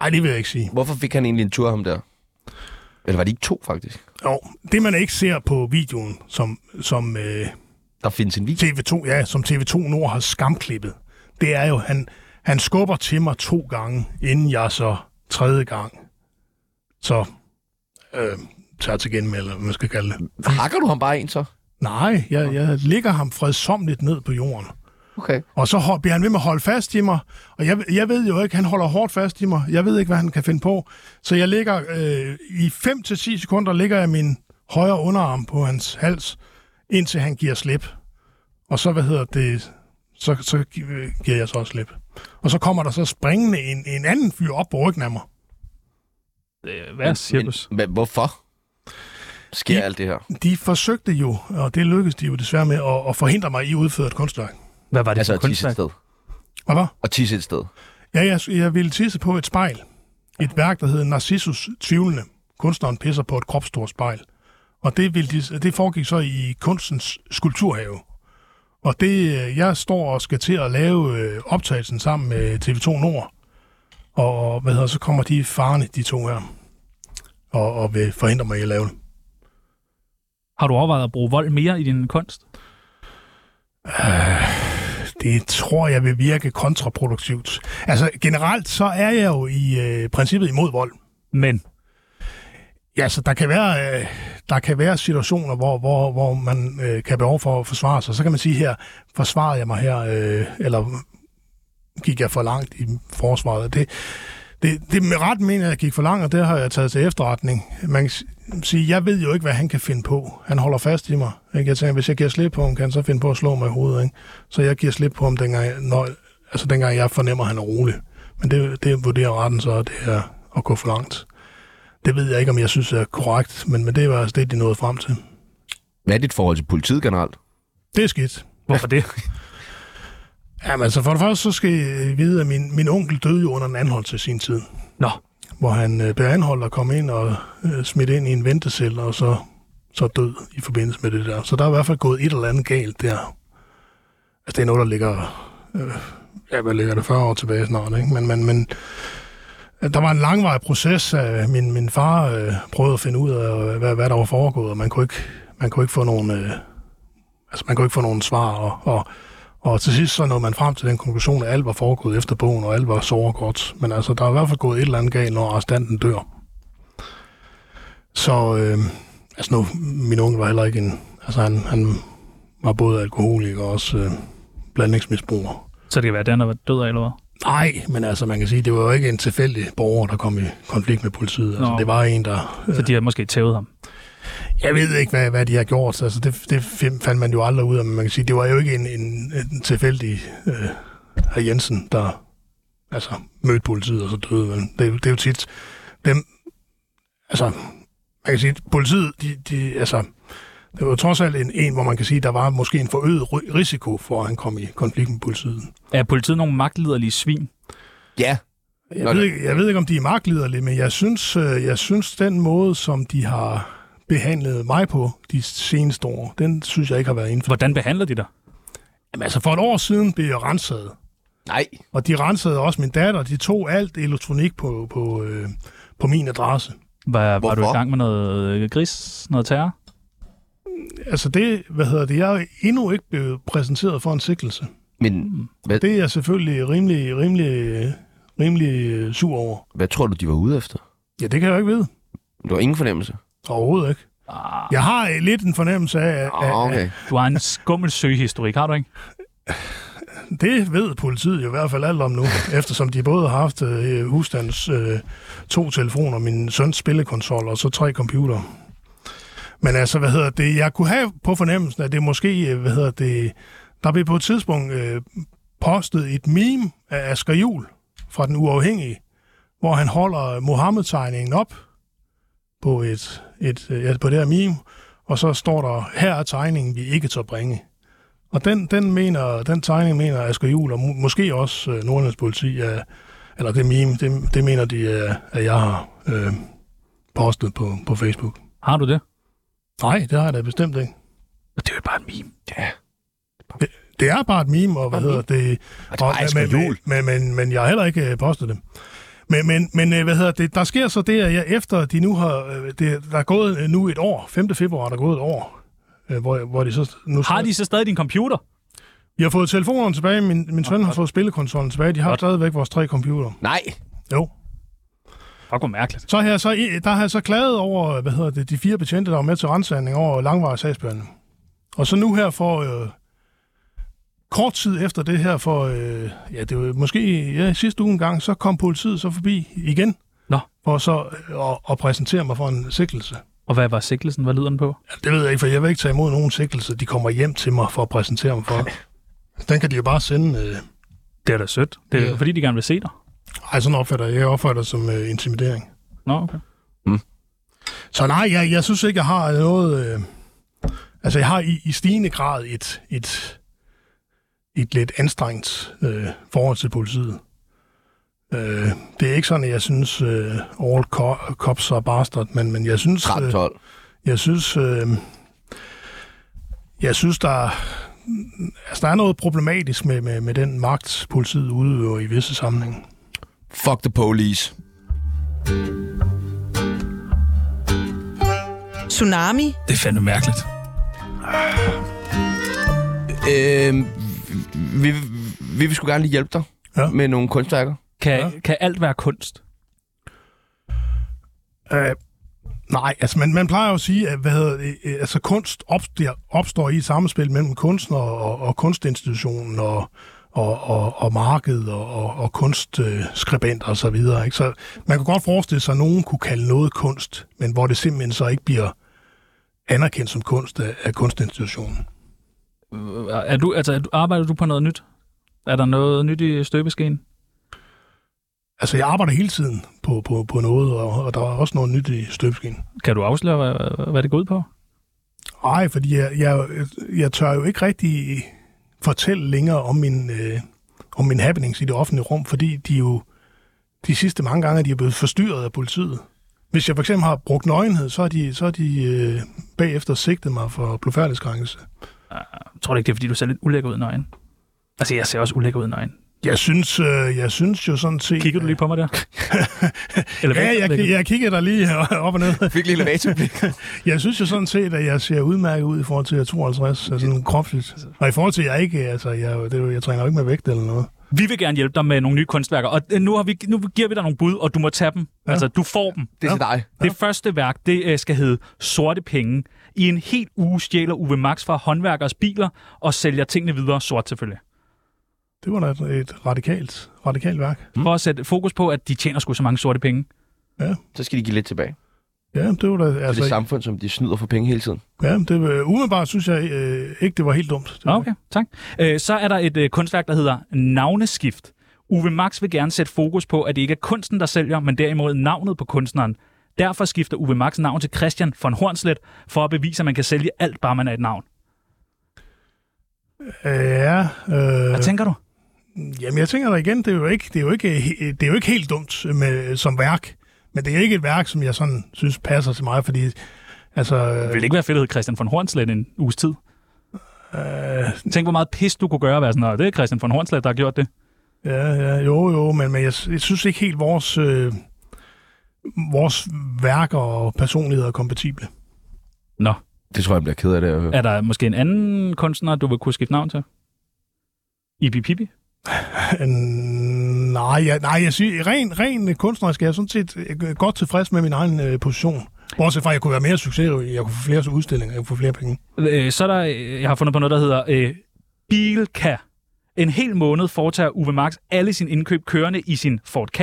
S3: Nej, det vil jeg ikke sige.
S1: Hvorfor fik han egentlig en tur ham der? Eller var det ikke to, faktisk?
S3: Jo, det man ikke ser på videoen, som, som øh,
S1: Der findes en video.
S3: TV2, ja, som TV2 Nord har skamklippet, det er jo, han, han skubber til mig to gange, inden jeg så tredje gang, så øh, tager til genmelde, eller hvad man skal kalde det.
S1: Hakker du ham bare en så?
S3: Nej, jeg, jeg ligger ham fredsomligt ned på jorden.
S1: Okay.
S3: Og så hold- bliver han ved med at holde fast i mig, og jeg, jeg ved jo ikke, han holder hårdt fast i mig. Jeg ved ikke, hvad han kan finde på. Så jeg ligger øh, i 5-10 sekunder, ligger jeg min højre underarm på hans hals, indtil han giver slip. Og så, hvad hedder det, så, så gi- øh, giver jeg så også slip. Og så kommer der så springende en, en anden fyr op på ryggen af mig.
S4: Øh, Hvad er cirkus?
S1: Men, hvorfor sker
S3: I-
S1: alt det her?
S3: De forsøgte jo, og det lykkedes de jo desværre med, at, at forhindre mig i at udføre et kunstværk.
S4: Hvad var det
S1: Altså at
S4: altså, for
S1: tisse et
S4: kunstværk?
S1: sted.
S3: Hvad var?
S1: Og tisse et sted.
S3: Ja, jeg, jeg ville tisse på et spejl. Et værk, der hedder Narcissus Tvivlende. Kunstneren pisser på et kropsstort spejl. Og det, ville de, det foregik så i kunstens skulpturhave. Og det, øh, jeg står og skal til at lave øh, optagelsen sammen med TV2 Nord. Og hvad hedder, så kommer de farne, de to her. Og, og vil forhindre mig i at lave det.
S4: Har du overvejet at bruge vold mere i din kunst?
S3: Det tror jeg vil virke kontraproduktivt. Altså generelt, så er jeg jo i øh, princippet imod vold.
S4: Men
S3: Ja, så der kan være, øh, der kan være situationer, hvor, hvor, hvor man øh, kan behov for at forsvare sig. Så kan man sige her, forsvarede jeg mig her, øh, eller gik jeg for langt i forsvaret. Og Det, det, det med ret mener jeg, at jeg gik for langt, og det har jeg taget til efterretning. Man kan s- sige, jeg ved jo ikke, hvad han kan finde på. Han holder fast i mig. Ikke? Jeg tænker, hvis jeg giver slip på ham, kan han så finde på at slå mig i hovedet. Ikke? Så jeg giver slip på ham, dengang jeg, når, altså dengang jeg fornemmer, at han er rolig. Men det, det vurderer retten så, at det er at gå for langt. Det ved jeg ikke, om jeg synes er korrekt, men, men det var altså det, de nåede frem til.
S1: Hvad er dit forhold til politiet generelt?
S3: Det er skidt.
S4: hvorfor det?
S3: Jamen altså, for det første, så skal I vide, at min, min onkel døde jo under en anholdelse i sin tid.
S4: Nå.
S3: Hvor han øh, blev anholdt og kom ind og øh, smidt ind i en ventecelle, og så, så død i forbindelse med det der. Så der er i hvert fald gået et eller andet galt der. Altså, det er noget, der ligger... Øh, ja, hvad ligger det? 40 år tilbage snart, ikke? Men, men, men der var en langvarig proces. øh, Min, min far øh, prøvede at finde ud af, øh, hvad, hvad der var foregået, og man kunne ikke, man kunne ikke få nogen... Øh, altså, man kunne ikke få nogen svar, og, og og til sidst så nåede man frem til den konklusion, at alt var foregået efter bogen, og alt var såre godt. Men altså, der er i hvert fald gået et eller andet galt, når arrestanten dør. Så, øh, altså nu, min unge var heller ikke en... Altså, han, han var både alkoholiker og også øh, blandingsmisbruger.
S4: Så det kan være, at den har været død af, eller hvad?
S3: Nej, men altså, man kan sige, det var jo ikke en tilfældig borger, der kom i konflikt med politiet. Altså,
S4: Nå.
S3: det var en, der...
S4: Så de har måske tævet ham.
S3: Jeg ved ikke, hvad, hvad de har gjort. Altså, det, det fandt man jo aldrig ud af, men man kan sige, det var jo ikke en, en, en tilfældig øh, herr Jensen, der altså, mødte politiet og så døde. Vel? Det, er jo- det er jo tit dem... Altså, man kan sige, politiet, de, de, altså, det var trods alt en, en, hvor man kan sige, der var måske en forøget ry- risiko for, at han kom i konflikt med politiet.
S4: Er politiet nogle magtliderlige svin?
S1: Ja. Nå,
S3: Jeg ved, ikke, jeg ved ikke, om de er magtliderlige, men jeg synes, øh, jeg synes, den måde, som de har behandlet mig på de seneste år, den synes jeg ikke har været inden for.
S4: Hvordan behandler de dig?
S3: Jamen, altså, for et år siden blev jeg renset,
S1: Nej.
S3: og de rensede også min datter. De tog alt elektronik på, på, øh, på min adresse.
S4: Var, var du
S1: Hvorfor?
S4: i gang med noget øh, gris? Noget terror?
S3: Altså det, hvad hedder det, jeg er endnu ikke blevet præsenteret for en sigtelse.
S1: Men hvad,
S3: Det er jeg selvfølgelig rimelig, rimelig, øh, rimelig øh, sur over.
S1: hvad tror du, de var ude efter?
S3: Ja, det kan jeg jo ikke vide.
S1: Du har ingen fornemmelse?
S3: Overhovedet ikke. Jeg har øh, lidt en fornemmelse af,
S1: Ah,
S3: af,
S1: okay.
S4: Du har en skummel søgehistorik, har du ikke?
S3: Det ved politiet jo i hvert fald alt om nu, eftersom de både har haft øh, husstandens øh, to telefoner, min søns spillekonsol og så tre computere. Men altså, hvad hedder det? Jeg kunne have på fornemmelsen, at det måske, øh, hvad hedder det, der blev på et tidspunkt øh, postet et meme af Asger Jul fra Den Uafhængige, hvor han holder Mohammed-tegningen op på, et, et, øh, ja, på det her meme, og så står der, her er tegningen, vi ikke tør bringe. Og den, den, mener, den tegning mener Asger Juhl, og mu- måske også øh, Nordlands politi, er, eller det meme, det, det mener de, er, at jeg har øh, postet på, på Facebook.
S4: Har du det?
S3: Nej, det har jeg da bestemt ikke.
S4: Det er jo bare en meme.
S3: Det er bare et meme, og hvad hedder det?
S1: Og det var Asger
S3: men, men,
S1: Juhl.
S3: men, men, men jeg har heller ikke øh, postet det. Men, men, men øh, hvad hedder det? Der sker så det, at jeg efter de nu har... øh, Det, der er gået øh, nu et år. 5. februar er der gået et år. øh, Hvor, hvor de så, nu
S4: Har de så stadig din computer?
S3: Jeg har fået telefonerne tilbage. Min, min søn har fået spillekonsollen tilbage. De har stadigvæk vores tre computer.
S1: Nej.
S3: Jo.
S4: Fuck, hvor mærkeligt.
S3: Så har jeg så, der har jeg så klaget over, hvad hedder det, de fire betjente, der var med til rensagning over langvarig sagsbehandling. Og så nu her for øh, kort tid efter det her, for øh, ja, det var måske ja, sidste uge en gang, så kom politiet så forbi igen.
S4: Nå.
S3: For så øh, og, og præsentere mig for en sikkelse.
S4: Og hvad var sigtelsen? Hvad lyder den på?
S3: Ja, det ved jeg ikke, for jeg vil ikke tage imod nogen sikkelse. De kommer hjem til mig for at præsentere mig for. Den kan de jo bare sende... Øh,
S4: Det er da sødt. Det er
S3: Ja.
S4: yeah. fordi, de gerne vil se dig.
S3: ej, sådan opfatter jeg. Jeg opfatter det som øh, intimidering.
S4: Nå, okay.
S3: Så nej, jeg, jeg synes ikke, jeg har noget... Øh, altså, jeg har i, i stigende grad et, et, et lidt anstrengt øh, forhold til politiet. Øh, det er ikke sådan, at jeg synes, øh, all co- cops are bastard, men, men jeg synes... øh,
S1: 13-12.
S3: Jeg synes, øh, jeg synes der, altså, der er noget problematisk med, med, med den magt, politiet udøver i visse sammenhænge.
S1: Fuck the police.
S8: Tsunami.
S10: Det er fandme mærkeligt.
S1: Øh, vi, vi vil sgu gerne lige hjælpe dig
S3: Ja.
S1: ja. med nogle kunstværker.
S4: Kan, ja. kan alt være kunst?
S3: Øh, nej, altså man, man plejer jo at sige, at hvad hedder, det, øh, altså, kunst opstår, opstår i et samspil mellem kunstner og, og kunstinstitutionen og, og, og, og markedet og, og, og kunstskribenter og så videre. Ikke? Så man kan godt forestille sig, at nogen kunne kalde noget kunst, men hvor det simpelthen så ikke bliver anerkendt som kunst af, af kunstinstitutionen.
S4: Er du, altså, er du, arbejder du på noget nyt? Er der noget nyt i støbeskeen?
S3: Altså, jeg arbejder hele tiden på, på, på noget, og, og der er også noget nyt i støbeskeen.
S4: Kan du afsløre, hvad, hvad det går ud på?
S3: Nej, fordi jeg, jeg, jeg tør jo ikke rigtig fortælle længere om min, øh, om min happenings i det offentlige rum, fordi de jo de sidste mange gange, de er blevet forstyrret af politiet. Hvis jeg for eksempel har brugt nøgenhed, så har de, så har de øh, bagefter sigtet mig for blodfærdighedskrænkelse.
S4: Jeg tror du ikke, det er, fordi du ser lidt ulækker ud i nøgen. Altså, jeg ser også ulækker ud i nøgen.
S3: Jeg synes, øh, jeg synes jo sådan set...
S4: Kigger du lige på mig der? Eller hvad?
S3: Ja, jeg, jeg kigger der lige op og ned.
S1: Fik lige elevatorblik.
S3: Jeg synes jo sådan set, at jeg ser udmærket ud i forhold til at jeg er 52, altså sådan kropsligt. Og i forhold til, at jeg ikke, altså, jeg, det, er jo- jeg træner jo ikke med vægt eller noget.
S4: Vi vil gerne hjælpe dig med nogle nye kunstværker, og øh, nu, har vi, nu giver vi dig nogle bud, og du må tage dem. Ja. Altså, du får dem.
S1: Det er til dig.
S4: Det første værk, det øh, skal hedde Sorte Penge. I en helt uge stjæler Uwe Max fra håndværkers biler og sælger tingene videre sort selvfølgelig.
S3: Det var da et, et radikalt, radikalt værk.
S4: Mm. For at sætte fokus på, at de tjener sgu så mange sorte penge.
S1: Så skal de give lidt tilbage.
S3: Ja, det var da...
S1: Altså, det
S3: Altså,
S1: samfund, som de snyder for penge hele tiden.
S3: ja, det, var- umiddelbart synes jeg øh, ikke, det var helt dumt. Det var-
S4: Okay, tak. Øh, så er der et øh, kunstværk, der hedder Navneskift. Uwe Max vil gerne sætte fokus på, at det ikke er kunsten, der sælger, men derimod navnet på kunstneren. Derfor skifter Uwe Max navn til Christian von Hornslet, for at bevise, at man kan sælge alt, bare man er et navn.
S3: Øh, ja, øh,
S4: Hvad tænker du?
S3: jamen jeg tænker da igen, det er jo ikke, det er jo ikke, he- det er jo ikke helt dumt med, øh, som værk. Men det er ikke et værk, som jeg sådan synes passer til mig, fordi... Altså,
S4: Vil det ikke være fedt at hedde Christian von Hornslet en uges tid? Øh... Tænk, hvor meget pis du kunne gøre at være sådan, "Nå, det er Christian von Hornslet, der har gjort det.
S3: Ja, ja, jo, jo, men, men jeg, jeg synes ikke helt, vores, øh, vores værker og personligheder er kompatible.
S4: Nå,
S1: Det tror jeg, jeg bliver ked af det. at høre.
S4: er der måske en anden kunstner, du vil kunne skifte navn til? Ibi Pibi?
S3: Øh, nej, jeg, nej, jeg siger, ren, ren øh, kunstnerisk er jeg sådan set øh, godt tilfreds med min egen øh, position. Bortset fra, at jeg kunne være mere succesrig, jeg kunne få flere udstillinger, jeg kunne få flere penge.
S4: Øh, så er der, øh, jeg har fundet på noget, der hedder øh, Bilka. En hel måned foretager Uwe Max alle sine indkøb kørende i sin Ford K.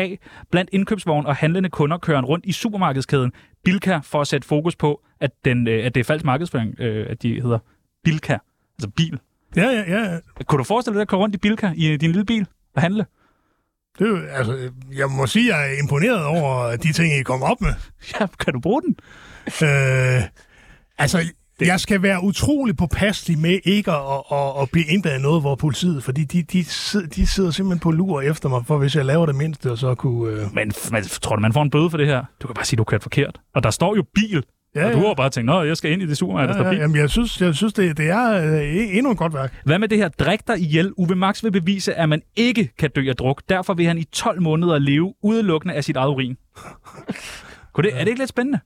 S4: Blandt indkøbsvogn og handlende kunder kører han rundt i supermarkedskæden Bilka for at sætte fokus på, at, den, øh, at det er falsk markedsføring, øh, at de hedder Bilka. Altså bil.
S3: Ja, ja, ja.
S4: Kunne du forestille dig at køre rundt i Bilka i øh, din lille bil og handle?
S3: Det, er jo- altså, øh, jeg må sige, at jeg er imponeret over de ting, I kom op med.
S4: Ja, kan du bruge den?
S3: Øh, altså, jeg skal være utrolig påpasselig med ikke at, at, at blive inddaget af noget, hvor politiet, fordi de, de, sid- de sidder simpelthen på lur efter mig, for hvis jeg laver det mindste, så kunne... Øh,
S4: Men f- man, tror du, man får en bøde for det her? Du kan bare sige, du kørte forkert. Og der står jo bil.
S3: Ja,
S4: Ja, og du
S3: ja.
S4: har jo bare tænkt, nå, jeg skal ind i det supermarked, der
S3: ja,
S4: står
S3: ja,
S4: bil.
S3: jamen, jeg synes, jeg synes det, det er øh, endnu et godt værk.
S4: Hvad med det her drik dig ihjel? Uwe Max vil bevise, at man ikke kan dø af druk. Derfor vil han i 12 måneder leve udelukkende af sit eget urin. Kunne det, er det ikke lidt spændende?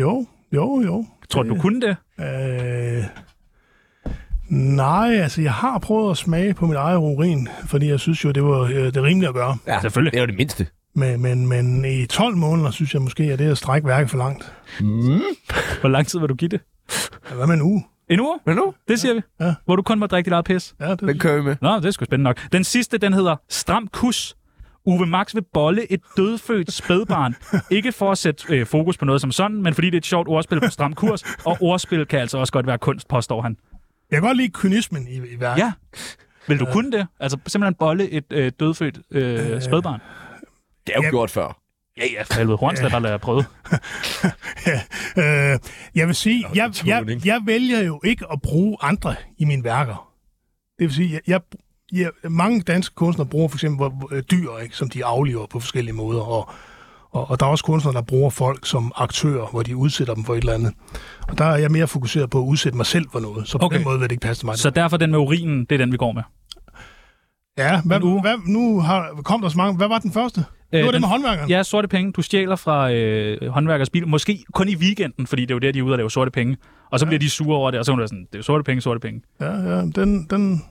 S3: Jo, jo, jo.
S4: Tror du, du kunne det?
S3: Øh, nej, altså, jeg har prøvet at smage på mit eget urin, fordi jeg synes jo, det var øh, det rimelige at gøre.
S1: Ja,
S4: selvfølgelig.
S1: Det er jo det mindste.
S3: Men, men, men i 12 måneder, synes jeg måske, at det er at strække værket for langt.
S4: Hvor lang tid vil du give det?
S3: Hvad med en uge?
S4: En uge?
S1: Men nu?
S4: Det siger vi.
S3: Ja.
S4: Hvor du kun må drikke dit eget pis.
S3: Ja, det,
S1: Den kører vi med.
S4: Nå, det er sgu spændende nok. Den sidste, den hedder Stram Kus. Uwe Max vil bolle et dødfødt spædbarn. Ikke for at sætte øh, fokus på noget som sådan, men fordi det er et sjovt ordspil på stram kurs, og ordspil kan altså også godt være kunst, påstår han.
S3: Jeg kan godt lide kynismen i, i værket.
S4: Ja. Vil
S1: Øh.
S4: du kunne det? Altså simpelthen bolle et øh, dødfødt øh, øh, spædbarn?
S1: Det er jo
S3: Ja.
S1: gjort før.
S4: Ja, ja, for helvede. Hornslet har lavet prøvet.
S3: Øh, jeg vil sige,
S1: det er
S3: jeg, jeg,
S1: tuning.
S3: jeg vælger jo ikke at bruge andre i mine værker. Det vil sige, jeg, jeg, jeg, mange danske kunstnere bruger for eksempel hvor- hvor- dyr, ikke, som de aflever på forskellige måder, og, og, og der er også kunstnere, der bruger folk som aktører, hvor de udsætter dem for et eller andet. Og der er jeg mere fokuseret på at udsætte mig selv for noget, så på
S4: Okay.
S3: okay. den måde vil det ikke passe til mig.
S4: Så derfor den med urinen, det er den, vi går med.
S3: ja, hvad, hvad, nu har, kom der så mange. Hvad var den første?
S4: Øh,
S3: det var
S4: den-
S3: det med håndværkeren.
S4: Ja, sorte penge. Du stjæler fra øh, håndværkers bil. Måske kun i weekenden, fordi det er jo der, de er ude og lave sorte penge. Og så ja. bliver de sure over det, og så er hun sådan, det er jo sorte penge, sorte penge.
S3: Ja, ja, den, den,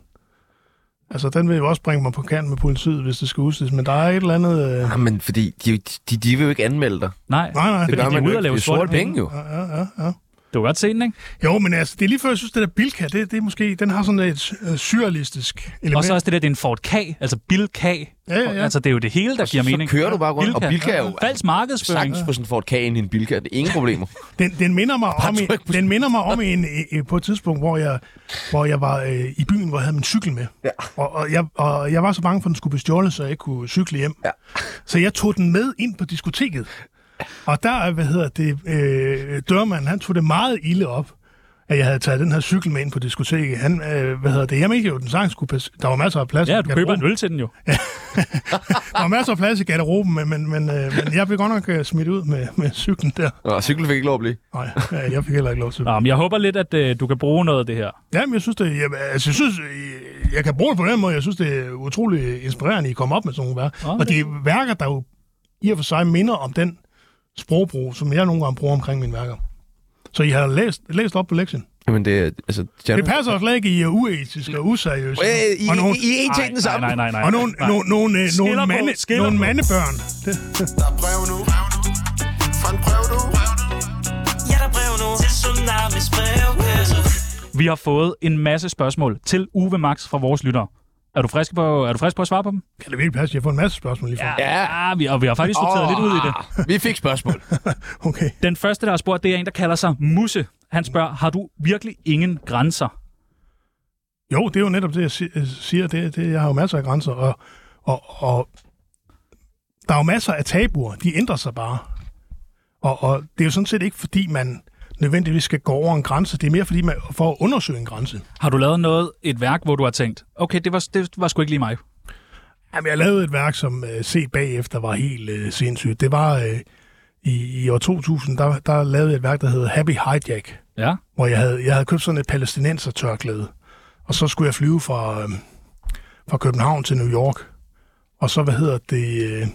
S3: altså, den vil jo også bringe mig på kant med politiet, hvis det skal udstilles, men der er et eller andet... Øh,
S1: Nej, Ah, men fordi de, de, de vil jo ikke anmelde dig.
S4: Nej,
S3: nej, nej.
S4: Fordi
S1: gør
S4: de er
S1: man jo
S4: ude og
S1: ikke.
S4: lave
S1: Det er
S4: sorte
S1: sorte
S4: penge.
S1: penge jo.
S3: Ja, ja, ja, ja.
S4: Du kan godt se den, ikke?
S3: Jo, men altså, det er lige før, jeg synes, det der Bilka, det, det er måske, den har sådan et øh, surrealistisk element.
S4: Og så også det der, det er en Ford K, altså Bill K.
S3: ja, ja.
S4: Altså, det er jo det hele, der giver
S1: Så
S4: mening.
S1: kører du bare rundt,
S4: Bilka.
S1: og Bilka er jo
S4: Falsk markedsføring.
S1: sagtens på sådan Ford Kagen i en Bilka. Det er ingen problemer.
S3: den, den, minder mig om
S1: tryk på
S3: en, den minder mig om en, øh, øh, på et tidspunkt, hvor jeg, hvor jeg var øh, i byen, hvor jeg havde min cykel med. Ja. Og, og, jeg, og jeg var så bange for, at den skulle blive stjålet, så jeg ikke kunne cykle hjem. Ja. Så jeg tog den med ind på diskoteket. Og der, hvad hedder det, øh, dørmanden, han tog det meget ilde op, at jeg havde taget den her cykel med ind på diskoteket. Han, øh, hvad hedder det, jeg mente jo, at den sang skulle passe. Der var masser af plads.
S4: Ja,
S3: i
S4: du køber
S3: garderoben.
S4: en øl til den jo.
S3: Der var masser af plads i garderoben, men, men, men, øh, men jeg blev godt nok øh, smidt ud med, med cyklen der.
S1: Og cyklen fik ikke lov at blive.
S3: Nej, øh, jeg fik heller ikke lov til det.
S4: Nå, men jeg håber lidt, at øh, du kan bruge noget af det her.
S3: Jamen, jeg synes, det, jeg, altså, jeg, synes øh, jeg kan bruge det på den måde. Jeg synes, det er utrolig inspirerende, at I kommer op med sådan nogle værker.
S4: Okay.
S3: Og det er værker, der jo i og for sig minder om den sprogbrug, som jeg nogle gange bruger omkring mine værker. Så I har læst, læst op på lektien.
S1: Jamen, det er... Altså,
S3: Det passer jo slet ikke, I er uetiske og useriøse.
S1: Øh, I,
S3: og nogle,
S1: I, I, er en ting
S4: Nej,
S1: den
S4: nej,
S1: samme.
S4: nej, nej, nej.
S3: og nogle, nogle, nogle, øh,
S4: Skiller
S3: nogle,
S4: på,
S3: mande,
S4: skiller
S3: nogle
S4: på.
S3: mandebørn. Det,
S6: Der er brev nu Fra en brev nu
S10: Ja, der er brev nu til Tsunamis brevkasse.
S4: Vi har fået en masse spørgsmål til Uwe Max fra vores lyttere. Er du frisk på, er du frisk på at svare på dem?
S3: kan det virkelig passe? Jeg får en masse spørgsmål lige fra.
S1: Ja.
S4: ja vi, og vi har faktisk sorteret oh. lidt ud i det.
S1: Ah. Vi fik spørgsmål.
S3: Okay.
S4: Den første, der har spurgt, det er en, der kalder sig Musse. Han spørger, har du virkelig ingen grænser?
S3: Jo, det er jo netop det, jeg si- øh, siger. Det, det, jeg har jo masser af grænser, og, og, og der er jo masser af tabuer. De ændrer sig bare. Og, og det er jo sådan set ikke, fordi man nødvendigvis skal gå over en grænse. Det er mere fordi man for at undersøge en grænse.
S4: Har du lavet noget, et værk, hvor du har tænkt, okay, det var, det var sgu ikke lige mig.
S3: Jamen, jeg lavede et værk, som øh, set bagefter var helt øh, sindssygt. Det var øh, i, i år 2000, der, der lavede jeg et værk, der hedder Happy Hijack.
S4: Ja,
S3: hvor jeg havde, jeg havde købt sådan et palæstinenser tørklæde. Og så skulle jeg flyve fra, øh, fra København til New York. Og så, hvad hedder det, øh,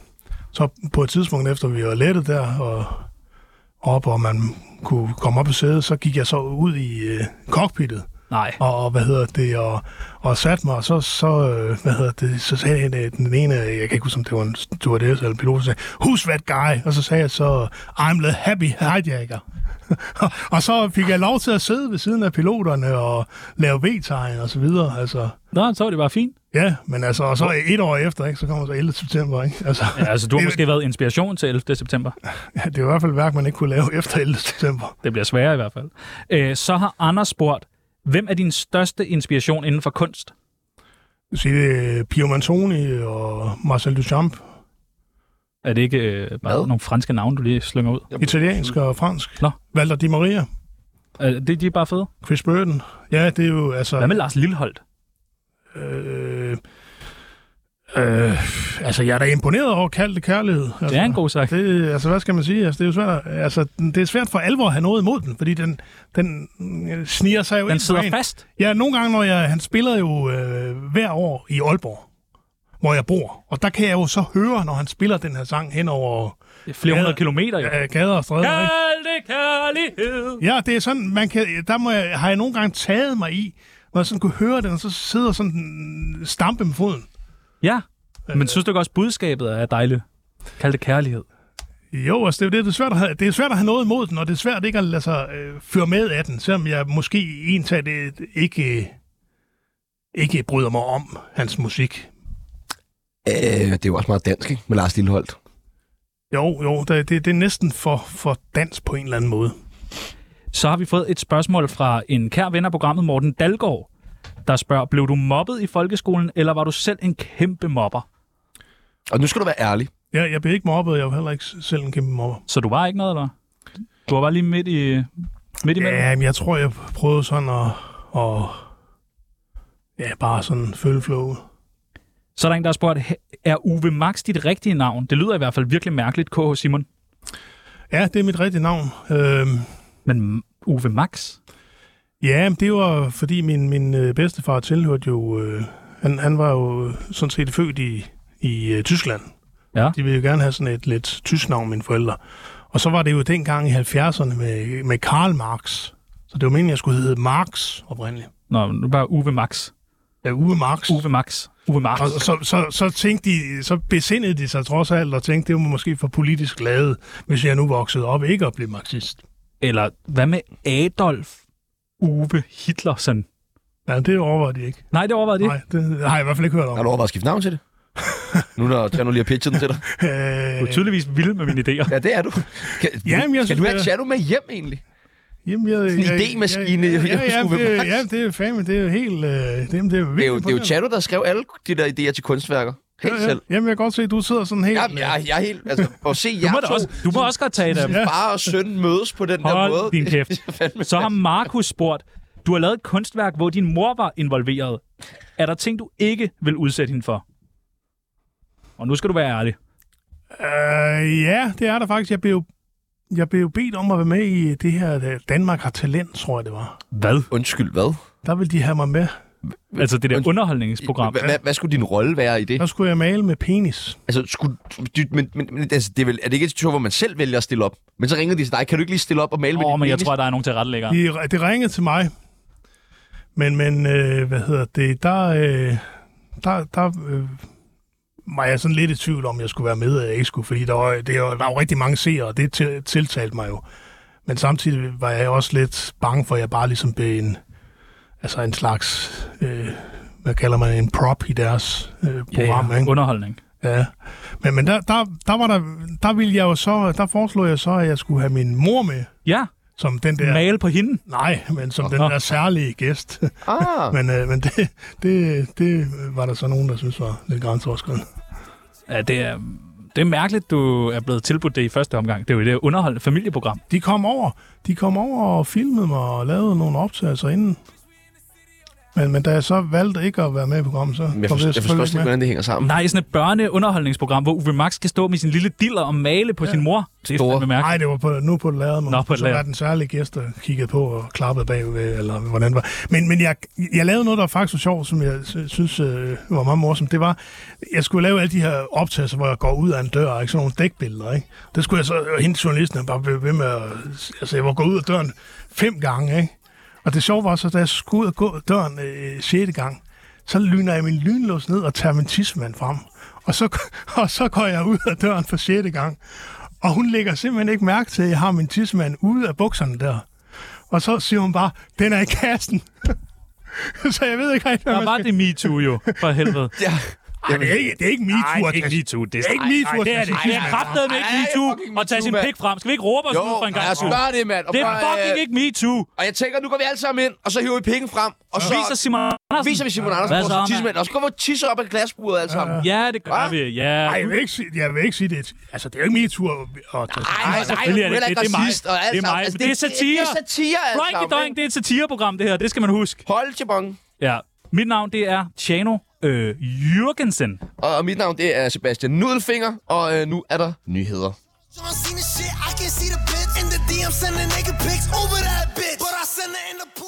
S3: så på et tidspunkt efter vi var lettet der og op, og man kunne komme op i sædet, så gik jeg så ud i øh, cockpittet.
S4: nej.
S3: Og, og, hvad hedder det, og, og satte mig, og så, så, øh, hvad hedder det, så sagde en, øh, den ene, jeg kan ikke huske, om det var en stewardess eller en pilot, så sagde, who's that guy? Og så sagde jeg så, I'm the happy hijacker. og så fik jeg lov til at sidde ved siden af piloterne og lave V-tegn og så videre, altså.
S4: Nå, så var det bare fint.
S3: Ja, men altså, og så et år efter, ikke, så kommer så 11. september, ikke? Altså,
S4: Ja, altså, du har
S3: Det-
S4: måske været inspiration til 11. september.
S3: det er i hvert fald et værk, man ikke kunne lave efter 11. september.
S4: Det bliver sværere i hvert fald. Øh, så har Anders spurgt, hvem er din største inspiration inden for kunst?
S3: Det vil sige, det er Pio Manzoni og Marcel Duchamp,
S4: Er det ikke øh, bare
S1: Hvad?
S4: nogle franske navne, du lige slynger ud?
S3: italiensk og fransk.
S4: mm. Nå.
S3: Walter Di Maria.
S4: Er det de er bare fede?
S3: Chris Burden. Ja, det er jo altså...
S4: Hvad med Lars Lilleholdt?
S3: Øh, øh, altså, jeg er da imponeret over kaldt kærlighed. Altså,
S4: Det er en god sag.
S3: Det, altså, hvad skal man sige? Altså, det er jo svært, at- altså, den- det er svært for alvor at have noget imod den, fordi den, den øh, sniger sig jo
S4: Den
S3: ind på
S4: sidder
S3: en.
S4: fast.
S3: Ja, nogle gange, når jeg, han spiller jo øh, hver år i Aalborg, hvor jeg bor. Og der kan jeg jo så høre, når han spiller den her sang hen over
S4: Flere
S3: Ja.
S4: hundrede kilometer, jo.
S3: øh, gader og stræder. ikke?
S4: Kærlig kærlighed.
S3: Ja, det er sådan, man kan, der må jeg, har jeg nogle gange taget mig i, når jeg sådan kunne høre den, og så sidder sådan den stampe med foden.
S4: Ja, men synes du ikke også, budskabet er dejligt? Kald det kærlighed.
S3: Jo, altså det, er jo det, det, er svært at have, det er svært at have noget imod den, og det er svært ikke at lade sig øh, føre med af den, selvom jeg måske egentlig det ikke, øh, ikke bryder mig om hans musik.
S1: Øh, det er jo også meget dansk, ikke? Med Lars Lilleholdt.
S3: Jo, jo, det, det, det er næsten for, for dans på en eller anden måde.
S4: Så har vi fået et spørgsmål fra en kær ven af programmet, Morten Dalgaard, der spørger, blev du mobbet i folkeskolen, eller var du selv en kæmpe mobber?
S1: Og nu skal du være ærlig.
S3: Jeg, jeg blev ikke mobbet, jeg var heller ikke selv en kæmpe mobber.
S4: Så du var ikke noget, eller? Du var bare lige midt i... Midt imellem?
S3: Ja, men jeg tror, jeg prøvede sådan at... at ja, bare sådan følge flowet.
S4: Så er der en, der har spurgt, "He- er Uwe Max dit rigtige navn? Det lyder i hvert fald virkelig mærkeligt, KH Simon.
S3: Ja, det er mit rigtige navn. Øhm,
S4: Men M- Uwe Max?
S3: ja, men det var fordi min, min øh, bedstefar tilhørte jo... Øh, han, han var jo sådan set født i, i øh, Tyskland.
S4: Ja.
S3: De ville jo gerne have sådan et lidt tysk navn, mine forældre. Og så var det jo dengang i 70'erne med, med Karl Marx. Så det var meningen, jeg skulle hedde Marx oprindeligt.
S4: Nå, nu bare Uwe Max.
S3: Ja, Uwe Marx.
S4: Uwe Max. Uwe Max.
S3: Og så, så, så, tænkte de, så besindede de sig trods alt og tænkte, det var måske for politisk lavet, hvis jeg nu voksede op ikke at blive marxist.
S4: Eller hvad med Adolf Uwe Hitlersen?
S3: Ja, det overvejede de ikke.
S4: Nej, det overvejede det.
S3: Nej, det har jeg i hvert fald ikke hørt om.
S1: Har du overvejet at skifte navn til det? nu når Tjerno lige har pitchet den til dig.
S4: Du
S3: Øh,
S4: er tydeligvis vild med mine idéer.
S1: Ja, det er du. Kan,
S3: Jamen, jeg
S1: skal
S3: synes,
S1: du have
S3: det er-
S1: Tjerno med hjem egentlig?
S3: jamen, jeg,
S1: en
S3: jeg-
S1: idémaskine,
S3: Ja,
S1: jeg
S3: ja, ja,
S1: skulle
S3: det,
S1: bevare.
S3: ja, det er fandme, det er jo helt... Øh, det, det, er,
S1: Det er jo,
S3: virkelig
S1: det er jo
S3: imponerende.
S1: Tjerno, der skrev alle de der idéer til kunstværker. Helt
S3: Ja, ja.
S1: selv.
S3: Jamen, jeg kan godt se, at du sidder sådan helt...
S1: Jamen, jeg, jeg er helt... Altså, at se
S4: Du
S1: jer
S4: må, da
S1: to,
S4: også, du må også godt tage
S3: øh,
S4: dem.
S1: far og søn, mødes på den der måde.
S4: Hold din kæft.
S1: Fandme.
S4: Så har Markus spurgt, du har lavet et kunstværk, hvor din mor var involveret. Er der ting, du ikke vil udsætte hende for? Og nu skal du være ærlig.
S3: Øh, ja, det er der faktisk. Jeg blev, jeg blev bedt om at være med i det her øh, Danmark har talent, tror jeg det var.
S4: Hvad?
S1: Undskyld, hvad?
S3: Der ville de have mig med.
S4: Altså det der
S1: Undskyld.
S4: underholdningsprogram.
S1: Hvad- hvad- Hvad skulle din rolle være i det?
S3: Der skulle jeg male med penis.
S1: Altså, skulle, du- men, men, men altså, det er, vel, er det ikke et show, hvor man selv vælger at stille op? Men så ringer de til dig. Kan du ikke lige stille op og male med
S4: Åh,
S1: din
S4: men jeg
S1: penis?
S4: tror, der er nogen til retlægger.
S3: De, det ringede til mig. Men, men øh, hvad hedder det? Der, øh, der, der øh, var jeg sådan lidt i tvivl om, jeg skulle være med eller ikke skulle, fordi der var, det var, der var jo rigtig mange seere, og det til, tiltalte mig jo. Men samtidig var jeg også lidt bange for, at jeg bare ligesom blev en, altså en slags, øh, hvad kalder man, en prop i deres øh, program.
S4: ja,
S3: ikke?
S4: ja. Underholdning.
S3: Ja, men, men der, der, der, var der, der ville jeg jo så, der foreslog jeg så, at jeg skulle have min mor med,
S4: Ja,
S3: som den der,
S4: male på hende.
S3: nej, men som den
S4: Nå.
S3: der særlige gæst.
S1: Ah,
S3: men øh, men det, det, det var der så nogen, der synes var lidt grænseoverskridende.
S4: Ja, det er, det er mærkeligt, du er blevet tilbudt det i første omgang. Det er jo det underholdende familieprogram.
S3: De kom over, de kom over og filmede mig og lavede nogle optagelser inden. Men, men da jeg så valgte ikke at være med i programmet, så
S1: men jeg,
S3: kom
S1: forstår,
S3: det
S1: jeg forstår
S3: selvfølgelig
S1: slet ikke,
S3: ikke med.
S1: hvordan det hænger sammen.
S4: Nej, sådan et børneunderholdningsprogram, hvor Uwe Max skal stå med sin lille diller og male på ja. sin mor. Det er
S1: Store.
S4: fandme mærkeligt.
S3: Nej, det var på, nu på et lærred,
S4: Nå, på et
S3: så
S4: lærred.
S3: var den særlige gæst, der kiggede på og klappede bagved, eller hvordan det var. Men, men jeg, jeg lavede noget, der var faktisk var sjovt, som jeg sy- synes øh, var meget morsomt. Det var, jeg skulle lave alle de her optagelser, hvor jeg går ud af en dør, ikke? sådan nogle dækbilleder. Ikke? Det skulle jeg så, og hende journalisten han bare blev ved med at, altså jeg var gået ud af døren fem gange, ikke? Og det sjove var så, da jeg skulle ud og gå døren øh, 6. gang, så lyner jeg min lynlås ned og tager min tidsmand frem. Og så, og så går jeg ud af døren for 6. gang. Og hun lægger simpelthen ikke mærke til, at jeg har min tidsmand ude af bukserne der. Og så siger hun bare, den er i kassen. så jeg ved ikke rigtig, hvad
S4: Der
S3: man
S4: var
S3: skal...
S4: det MeToo jo, for helvede.
S1: Ja.
S3: Ej, det er ikke, det er ikke
S4: Nej,
S3: MeToo. at
S4: det er
S3: tage-
S4: ikke MeToo. Det
S3: Det er ikke MeToo.
S4: Det er det. Det er kraftedet med
S1: Ej,
S4: ikke
S1: fucking
S4: MeToo at
S1: MeToo,
S4: tage sin
S1: mand.
S4: pik frem. Skal vi ikke råbe os
S1: Jo,
S4: nu for en gang?
S1: jeg
S4: skyld?
S1: spørger det, mand. Og
S4: Det er
S1: bare,
S4: fucking
S1: øh,
S4: ikke MeToo.
S1: Og jeg tænker, nu går vi alle sammen ind, og så hiver vi penge frem. Og så
S4: Viser Simon Andersen.
S1: viser vi Simon Andersen
S4: Hvad
S1: vores
S4: så, mand?
S1: tissemænd, og så går vi og tisser op af glasburet alle sammen.
S4: Ja, det
S1: Hva?
S4: gør vi. Ja.
S3: Ej, jeg vil ikke sige, jeg vil ikke sige det. Altså, det er jo ikke MeToo. at- at-
S1: Ej, nej,
S4: selvfølgelig er
S1: du
S4: det-
S1: heller ikke
S4: det- det er mig.
S1: racist og alt
S4: Det er mig,
S1: sammen. Altså,
S4: men det er satire.
S1: Det er satire, alt
S4: Right,
S1: sammen.
S4: det er et satireprogram, det her. Det skal man huske.
S1: ikke? Hold til bongen.
S4: Ja. Mit navn, det er Tjano øh, Jørgensen.
S1: Og, og mit navn, det er Sebastian Nudelfinger, og øh, nu er der nyheder.
S10: John Cena shit, I can see the bitch in the DM sending nigga pics over that bitch, but I send her in the.